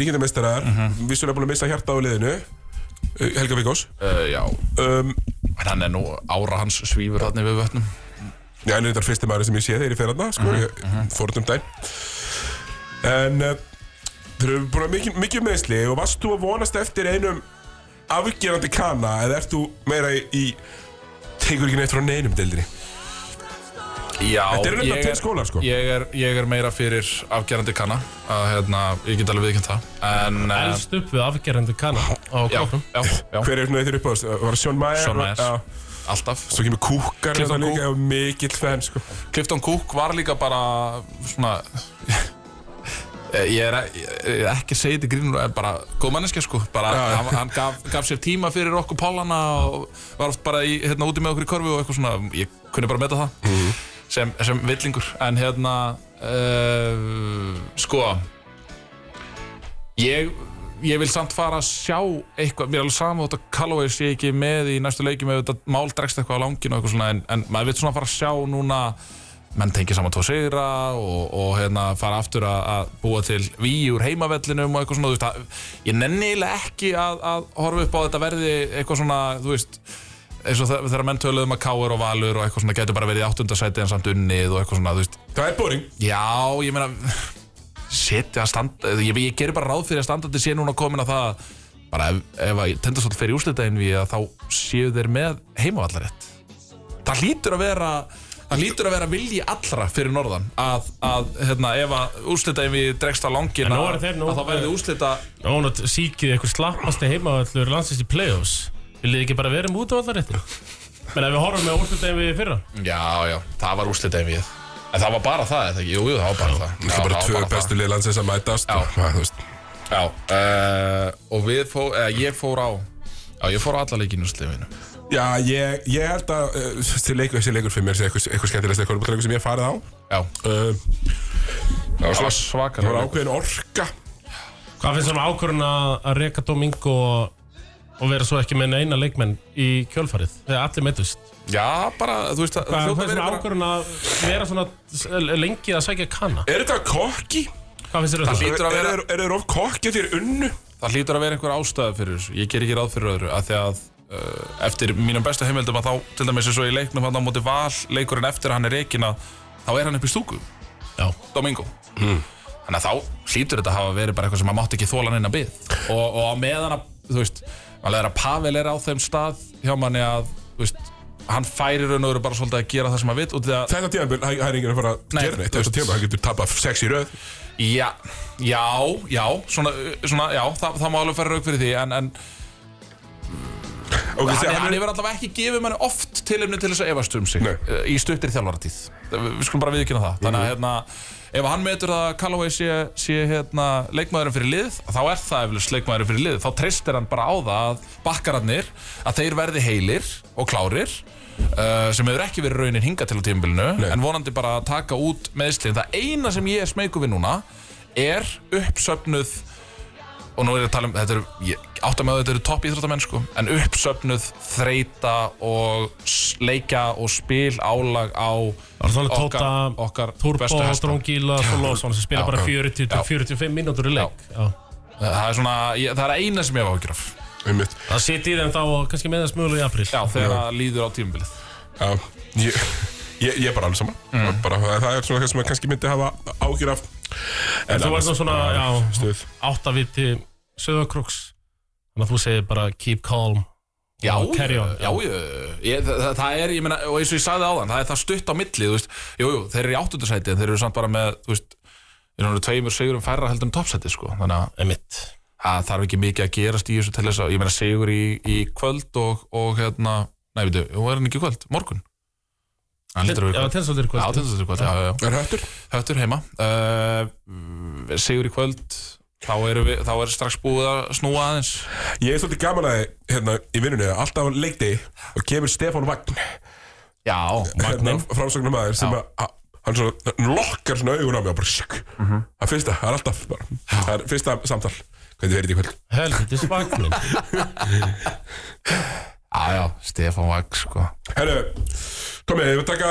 ríkjandi meistarar mm -hmm. Vissulega búin að missa hjarta á liðinu uh, Helga Víkós uh, Já um, En hann er nú ára hans svífur þarna við vötnum Já, en þetta er fyrsti maður sem ég sé þegar ég fer hana Mhm, Sko, ég fór þetta um dæn En uh, Þeir eru búin að mikið, mikið meðsli Og varst þú að vonast eftir einum Afgerandi kana Eða ert þú meira í, í Tekur ekki neitt frá neinum deildinni Já Þetta eru nefnilega ég tveir skólar, sko. ég er, ég er meira fyrir afgerandi kanna að, hérna, Ég get alveg viðkjönt það En eh, elst upp við afgerðandi kanna á já, klokkum já, já, Hver er svona þeir upp á þessu? eh, Var það Sjón Mæjar? Sean Mayer. Já. alltaf Svo kemur Kúkar Clifton Þetta líka og mikill fenn, sko Clifton Cook var líka bara svona Eh, ég er ég er ekki að segja þetta í grínur en bara góð manneskja sko bara, Já. hann, hann gaf, gaf sér tíma fyrir okkur pálana og var oft bara í, hérna, úti með okkur í korfi og eitthvað svona, ég kunni bara meta það Mhm. sem, sem villingur en hérna uh, sko ég ég vil samt fara að sjá eitthvað, mér er alveg sama þótt að Callaway sé ekki með í næstu leikjum ef þetta mál dregst eitthvað á langinu og eitthvað svona en, en maður vil svona fara að sjá núna menn tengja saman tvo sigra og, og hérna fara aftur að, að búa til víi úr heimavellinum og eitthvað svona þú veist, að, ég nenni eiginlega ekki að, að horfa upp á að þetta verði eitthvað svona þú veist eins og þe- þegar menn töluðum að káur og valur og eitthvað svona getur bara verið í áttundasæti en samt unnið og eitthvað svona þú veist, Það er boring Já, ég meina setja að standa, ég, ég gerir bara ráð fyrir að standandi sé núna komin að það bara ef, ef að tendastól fer í úrslitaðin við að þá séu þeir með heimavallarétt það hlýtur að vera það hlýtur að vera vilji allra fyrir norðan að, að hérna, ef að úrslitaðin við dregst á langin En nú að, eru þeir nú- að þá verði úrslita og hún síkið ykkur slappasti heimavallur landsins í play-offs viljið þið ekki bara vera um útavallarétti menn ef við horfum með úrslutegin við í fyrra Já, já, það var úrslitaðin við en það var bara það, eða ekki, jú, jú, það var bara það Það er bara tvö bestu lið landsins að mætast Já. og, maður, þú veist, Já, uh, og við fó, eða, ég fór á Já, ég fór á alla leikinu slefinu Já, ég, ég held að uh, þessi leikur, þessi leikur fyrir mér sé eitthvað, eitthvað skemmtilegst eitthvað sem ég hef farið á Já, uh, það var svakar Það var ákveðin orka Hvað finnst þér um ákvörðun að að reka Domingo og, og vera svo ekki með neina leikmenn í kjölfarið þegar allir meittust? Já, bara, þú veist að það Hvað hljóta finnst þér um verið bara- ákvörðun að vera svona s- lengi að sækja kanna? Er þetta kokki? Hvað finnst þér um það? hlýtur að Er, vera- er, er þeir of kokki þeir unnu? Það hlýtur að vera einhver ástæða fyrir þessu Ég ger ekki ráð fyrir öðru að Því að uh, eftir mínum besta heimildum að þá til dæmis eins og í leiknum hann á móti val leikurinn eftir að hann er reikina þá er hann upp í stúku Já. Domingo Þannig að þá hlýtur þetta að hafa verið bara eitthvað sem að mátt ekki þólan inn að byð og, og á meðan að, þú veist alveg er að Pavel er á þeim stað hjá manni að, þú veist hann færir raun og veru bara svolítið að gera það sem hann vill og því að Þetta tíðanbjörn, það það er enginn að fara að Nei, gera neitt Þetta tíðanbjörn, hann getur tapað sex í röð Já, já, já, svona, svona já, það, það má alveg fara rauk fyrir því en, en Og ég hann, segi, hann hann er hefur allavega ekki gefið manni oft tilefni til þess að efast um sig Nei. eh, í stuttir þjálfaratíð, við við skulum bara viðkynna það þannig að hérna, ef hann metur það að Callaway sé, sé hérna, leikmaðurinn fyrir lið þá er það eflust leikmaðurinn fyrir lið þá treystir hann bara á það að bakkararnir að þeir verði heilir og klárir Uh, sem hefur ekki verið raunin hinga til á tímabilinu Nei. en vonandi bara að taka út meðslinn það eina sem ég er smeyku við núna er uppsöfnuð og nú er ég að tala um þetta eru, ég átta með að þetta eru topp íþróttamenn sko en uppsöfnuð, þreita og s- leikja og spil álag á Það er svona okkar, Tóta, okkar Turbo, bestu hesta Drongíla, Solósson sem spila Já. bara 40-45 mínútur í leik. Já. það er svona, ég, það er eina sem ég hef ágjur af Einmitt. Það sitja í þeim þá og kannski með það smölu í april. já, þegar það líður á tímabilið Já, ég, ég, ég er bara alveg saman bara, Það er svona það sem maður kannski myndi hafa ágjur af En Þú annars- varst nú svona, já, Stuð áttaviti söðakróks. Þannig að þú segir bara keep calm. Já, og carry on. já, já, ég, það, það er, ég meina, og eins og ég sagði áðan, það er það stutt á milli, þú veist, jú, jú, þeir eru í áttundasæti, en þeir eru samt bara með, þú veist, þeir eru tveimur sigurum færra heldur en toppsæti, sko, þannig að Emitt. það þarf ekki mikið að gerast í þessu til þess að, ég meina sigur í, í kvöld og, og hérna, nei veitu, hún er hann ekki í kvöld, morgun Hann lítur að Já, vera kvöld. tennsoldur Já, kvöld tindastóttir kvöld, já, já, já. Er höttur? Höttur heima uh, Sigur í kvöld Þá, erum við, þá er strax búið að snúa aðeins Ég er svolítið gaman að hérna í vinnunni að Alltaf á leikdegi og kemur Stefán Vagn Já, hérna, Framsögnum aður sem að að- Hann svona hann lokkar svona augun á mig og bara sjekk Það er fyrsta, það er alltaf bara Það er fyrsta samtal Hvernig verið í kvöld? Helviti spagnin Já, já, Stefán Vagn sko. Herru, komið, við taka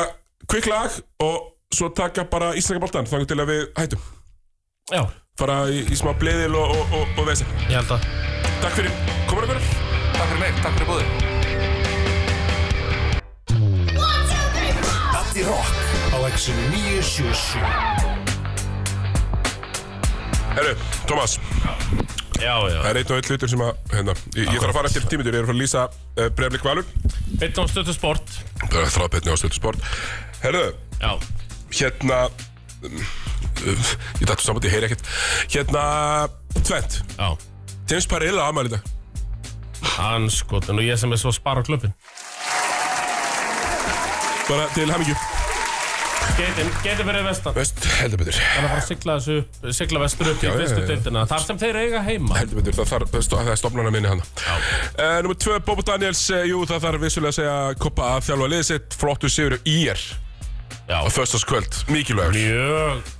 kvikk lag og svo taka bara Íslandska boltan Þannig til að við hættum Já, Fara í, í smá bleðil og, og, og, og vesen ég held að Takk fyrir, komur ykkur Takk fyrir mig, takk fyrir búðið Addi Rock á exinu 977 Herru, Tómas, Já, já það er einn og einn hlutur sem að, hérna, ég, ég þarf að fara eftir tímitur, ég er að fara að lýsa uh, breflik valur, Einn á stötu sport bara þráðbetni á stöðu sport. Herru, Já hérna, um, uh, ég dættu saman, ég heyri ekkert, hérna, tvent, Já James Parilla afmæli í dag. Anskotin og ég sem er svo spara á klubbin Bara til hamingju, Geitin, geitin fyrir vestan veist, heldur betur, Það er að fara að sigla þessu upp, sigla vestur upp Já, í já, fyrstu já, já. deildina Þar sem þeir eiga heima heldur betur, það, þarf, það, sto- það er stofnana minni hann. Uh, Númer tvö, Bobo Daniels, uh, jú, það þarf vissulega að segja koppa að þjálfa liðið sitt, flottu sigur í er Já. á föstaskvöld, mikilvægur. Mjög,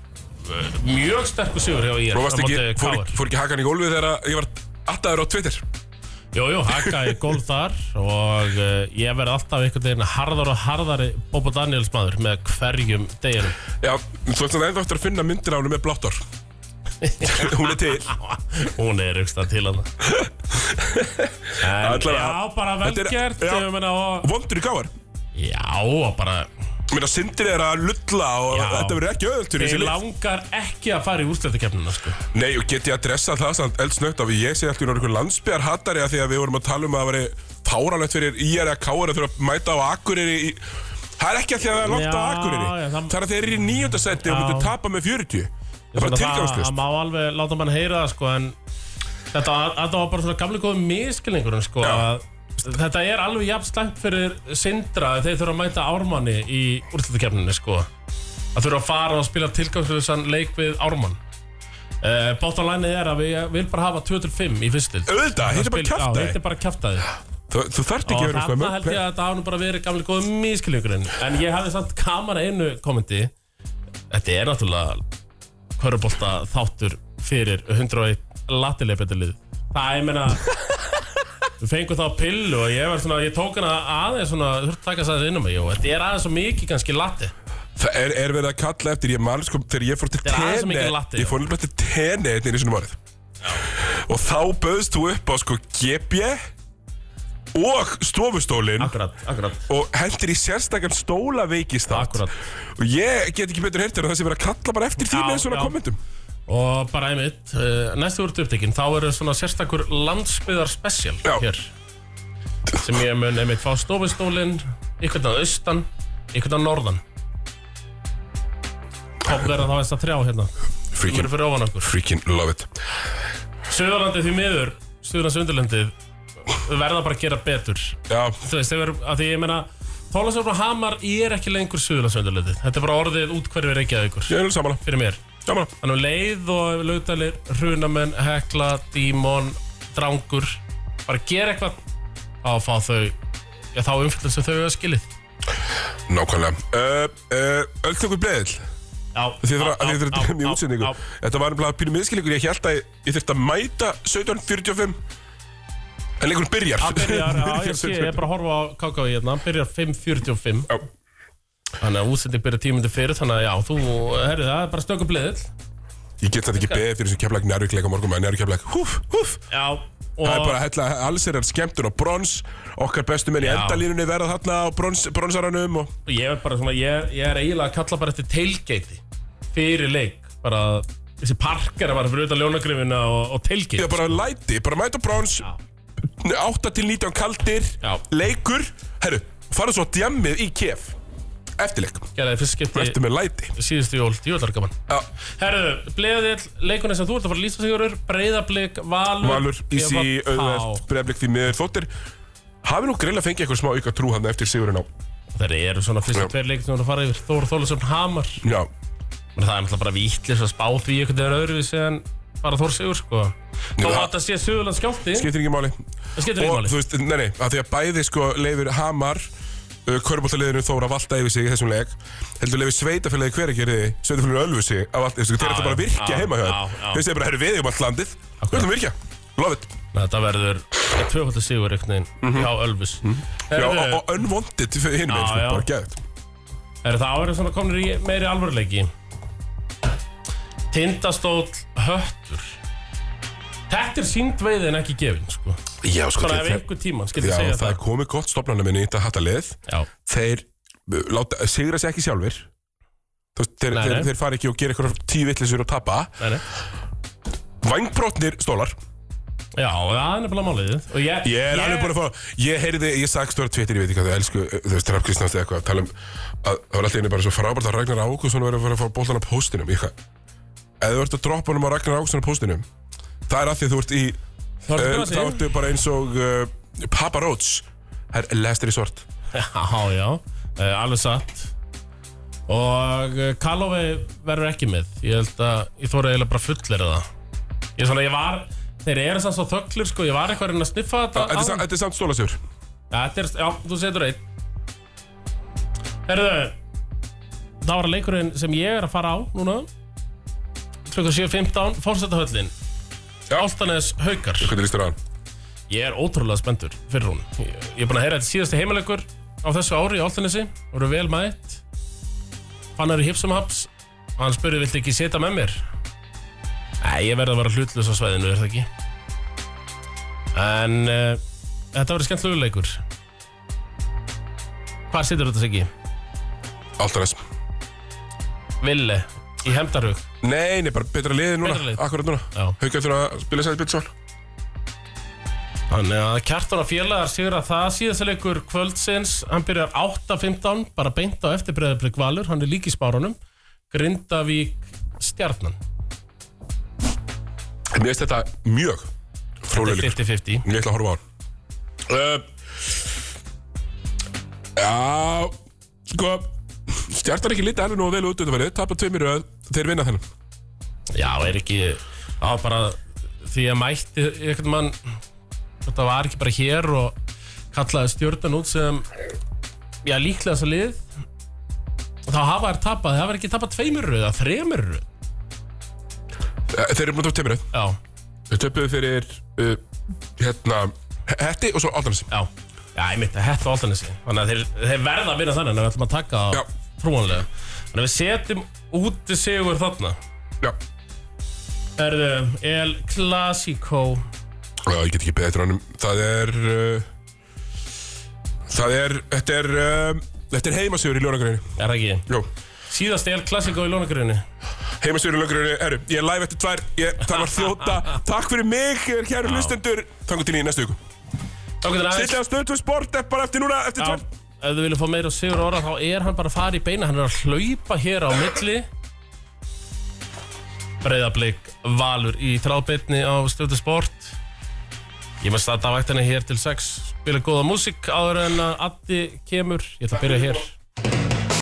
mjög sterkur sigur hjá ég Þú varst ekki, fór, Káar fór ekki hakan í gólfið þegar ég var attaður á Twitter Jú, jú, haka í gólf þar og uh, ég verð alltaf einhvern veginn harðar og harðari Bobo Daniels maður með hverjum deginum Já, þú veist að ennþá eftir að finna myndir á henni með blottor Hún er til Hún er auksta til hann En Allavega. já, bara vel Þetta er- gert já. ég meina, og, Vondur í káar Já, og bara Mér að sindir er að lulla og Já. þetta verður ekki öðvöld fyrir Ég þessi lið langar ekki að fara í úrslættakefnina sko. Nei, og get ég að dressa það samt eldsnögt af ég sé alltaf einhvern landsbyðar hattari að því að við vorum að tala um að það veri fáralegt fyrir IR eða káar að þurfa að mæta á Akureyri í... Það er ekki að því að það er langt á Já, Akureyri já, það- Það er að þeir eru í nýjönda seti og Já. myndu tapa með 40 Það er bara það, það tilgangslust má alveg láta mann heyra það sko, en þetta, þetta var bara svona gamli góðum miskilningur sko, Já. að Þetta er alveg jafn slæmt fyrir Sindra að þeir þurfa að mæta Ármanni í úrslættakefninu sko. að þurfa að fara og spila tilgangslöðsan leik við Ármann uh, Bóttalænið er að við vil bara hafa 2-5 í fyrstild Auðvitað, þetta er bara Já, hitt kjaftaði er bara kjaftaði Þú þú þarft ekki að Og vera þarna held svona ég að þetta hafa nú bara verið gamli góðum miskiljökurinn En ég hafði samt kaman að einu kommenti Þetta er náttúrulega Körubolta þáttur fyrir 101 latilegbettalið Það er meina Við fengum þá pillu og ég var svona Ég tók hana aðeins svona Þurft taka þess aðeins inn á mig og Þetta er aðeins svo mikið kannski lati Það er, er verið að kalla eftir, ég man sko, þegar ég fór til er aðeins of tenni, mikil latte, ég fór nefnilega til tenni einnig einu sinni márið. Og þá bauðst þú upp á sko GB og stofustólinn Akkurat, akkurat, og hendir í sérstakann stóla veikist akkurat Og ég get ekki betur heyrt þér að það sé verið að kalla bara eftir því Já, með svona já. kommentum. Og bara einmitt, eh, næstu úr upptekinn Þá eru svona sérstakur landsbyðar special Já. hér Sem ég mun einmitt fá stofustólinn Ykkurna að austan, ykkurna að norðan Kom verða þá þess að trjá hérna Sem Freaking, eru fyrir ofan okkur freaking love it. Suðurlandið því miður, Suðurlands undirlandið Verða bara að gera betur Já, Þú veist, þegar, að því ég meina Þólasöfn og Hamar, ég er ekki lengur Suðurlands undirlandið Þetta er bara orðið út hverfi reykjað ykkur ég er alveg saman. Fyrir mér Saman. Þannig um leið og lögdalir, hrunamenn, hekla, dímon, drangur bara gera eitthvað á að fá þau já, þá umfyllum sem þau hafa skilið Nákvæmlega. Uh, uh, Ölltökur bleðil. Já, Þið þurfa að þið þurfa að dæmi í já, útsendingu. já. Þetta var nefnilega pínu miðskilningur. Ég held að ég, ég þurfti að mæta 17.45 en leikurinn byrjar. Hann byrjar, já, ég sé, ég er 17:45. bara að horfa á KK hérna, hann byrjar 5.45 Já. Þannig að útsending byrjar tímundi fyrir, þannig að já, þú, herri, það er bara stöku bliðil Ég get þetta ekki beðið fyrir þessu keflæk nærvíkleik á morgun maður nærvíkleik Húf, húf Já, Það er og bara að hella alls er skemmtun og brons Okkar bestu menn í Já. endalínunni verða þarna á brons, bronsaranum og... ég er bara svona, ég, ég er eiginlega að kalla bara eftir tailgate fyrir leik, bara þessi parkar að bara fyrir utan ljónagrifina og, og tailgate Ég bara læti, bara mæta á brons 8 til 19 kaldir Já. Leikur Herru, fara svo að djammið í kef Eftirleik gerði fyrst skipti Eftir með læti síðustu jól, djúvallar gaman Já, Herðu, bleðill, leikunni sem þú ert að fara að lýsa sigurur Breiðablík, Valur Valur, Ísi, Eva, Pá. auðvelt, breflik því miður þóttir Hafi nú grilla fengið eitthvað smá auka trú hann eftir sigurinn á Þeir eru svona fyrstu Já. tveir leikir sem voru að fara yfir Þór Þólusson Hamar Já, Men það er náttúrulega bara vítlis að spá því einhvern veginn öðruvísi en bara Þór Sigur sko Þó að það- þetta sé Suðurlands skjálti skiptir ekki máli Það skiptir Og ekki máli þú veist, nei, nei, að því að bæði sko leifir Hamar uh, Körbóltaliðinu Þóra valda yfir sig í þessum leik heldur leifir sveitafélagi hverjargerði sveitafélagi Ölfusi að valda yfir sig þeir ætla Já, bara að já, já, virkja heima hjá já, þeim já. þeir segja bara, herru við um allt landið við ætlum að virkja, love it Þetta verður tvöfaldur sigur einhvern veginn hjá Ölfus Mhm. já, Herðu, og, og unwanted fyrir hinn Já, veginn, sko, já. bara gæðt Er það árið svona komnir í meiri alvöruleiki? Tindastóll höttur Þetta er sínd veið en ekki gefin sko. já, sko, Bara ef þeir, einhver tíma skildi já, segja það það er komið gott stofnarnar minni í þetta hattalið Já, þeir uh, láta, sigra sig ekki sjálfir Þú veist, þeir, Nei, þeir, nei. þeir fara ekki og gera eitthvað tíu vittlisur og tapa nei, nei. vangbrotnir stólar já það er nefnilega málið Og ég, Ég er alveg búin að fá, ég heyrði, ég sagði stóra Twitter, ég veit ekki hvað þau elsku, eh, þú veist, Raff Kristjáns eða eitthvað, að tala um að það var alltaf einu bara svo frábært að Ragnar Ákusson verið að fara að fá bóltan á póstinum, ég hvað. Ef þú ert að droppa honum á Ragnar Ákusson á póstinum, það er að því að þú ert í, Það uh, er þá það ertu bara eins og uh, Papa Roach, það er last resort. Já, já, uh, alveg satt Og uh, Callaway verður ekki með Ég held að, ég þóra eiginlega bara fullir það Ég svona, ég var Þeir eru sanns og þögglir sko, ég var eitthvað að reyna að sniffa þetta Þetta er áðan. samt- þetta er samt stólasjör. Já, þetta er, já, þú setur einn Herðu Það var leikurinn sem ég er að fara á núna Klukka 7.15 Fórsetahöllin Áltanes Haukar Hvernig líst þér á hann? Ég er ótrúlega spenntur fyrir hún Ég, ég er búin að heyra þetta síðasti heimilegur á þessu ári í Áltanesi voru vel mætt Fannar í Hipsum Haps og hann spurði, viltu ekki setja með mér? Nei, ég verði að vera hlutlaus á svæðinu, er það ekki? En uh, þetta verður skemmtlegur leikur Hvað setur þetta sig í? Altanes. Ville í Hemdarhug Nei, nei, bara betra liðið Betra núna, lið. akkurat núna. Já. Haukar þurfa að spila sæði byrjusvál. Þannig að kjartan og félagar sigur að það síðast leikur kvöldsins hann byrjar 8.15 bara beint á eftirbreiðarblik valur hann er lík í spárunum Grindavík stjarnan Mér finnst þetta mjög fróðlegur leikur. 50-50 Ég ætla að horfa á hann uh, Já Sko Stjartan ekki lítið alveg nú vel út undanfærið Tapa tveimir röð Þeir vinna þennan Já, er ekki á bara því að mætti einhvern mann þetta var ekki bara hér og kallaði stjörnan út sem já, líklega þessa lið og þá hafa þær tapað, það hafa þær ekki tapað tveimur röð eða þremur röð Eh, Þeir eru búin að tapa tveimir röð Já, Þeir töpuðu fyrir uh, Hérna Hetti og svo Aldanes Já, já ég myndi að hætta áltanesi Þannig að þeir, þeir verða að vinna þannig en við ætlum að taka Já. það trúanlega Þannig að við setjum úti sigur þarna Já Erðu El Clasico Já, ég get ekki beðið eftir honum Það er uh, Það er Þetta er uh, Þetta er heimasögur í ljónagræni Er það ekki? Jó Síðast El Clasico í lónagrunni Heimasögur í ljónagræni Herru, ég er live eftir tvær ég, Það var þjóta Takk fyrir mig, kæru hlustendur Þangu til í næstu viku Tókutin aðeins Sittu á stöðt við sport ef bara eftir núna eftir Já, tvær ef þið viljum fá meira á sigur orða þá er hann bara að fara í beina Hann er að hlaupa hér á milli Breiðablík Valur í þráðbytni á Stöðu Sport Ég maður staða dagvæktina hér til 6 Spila góða músík áður en að Addi kemur Ég ætla að byrja hér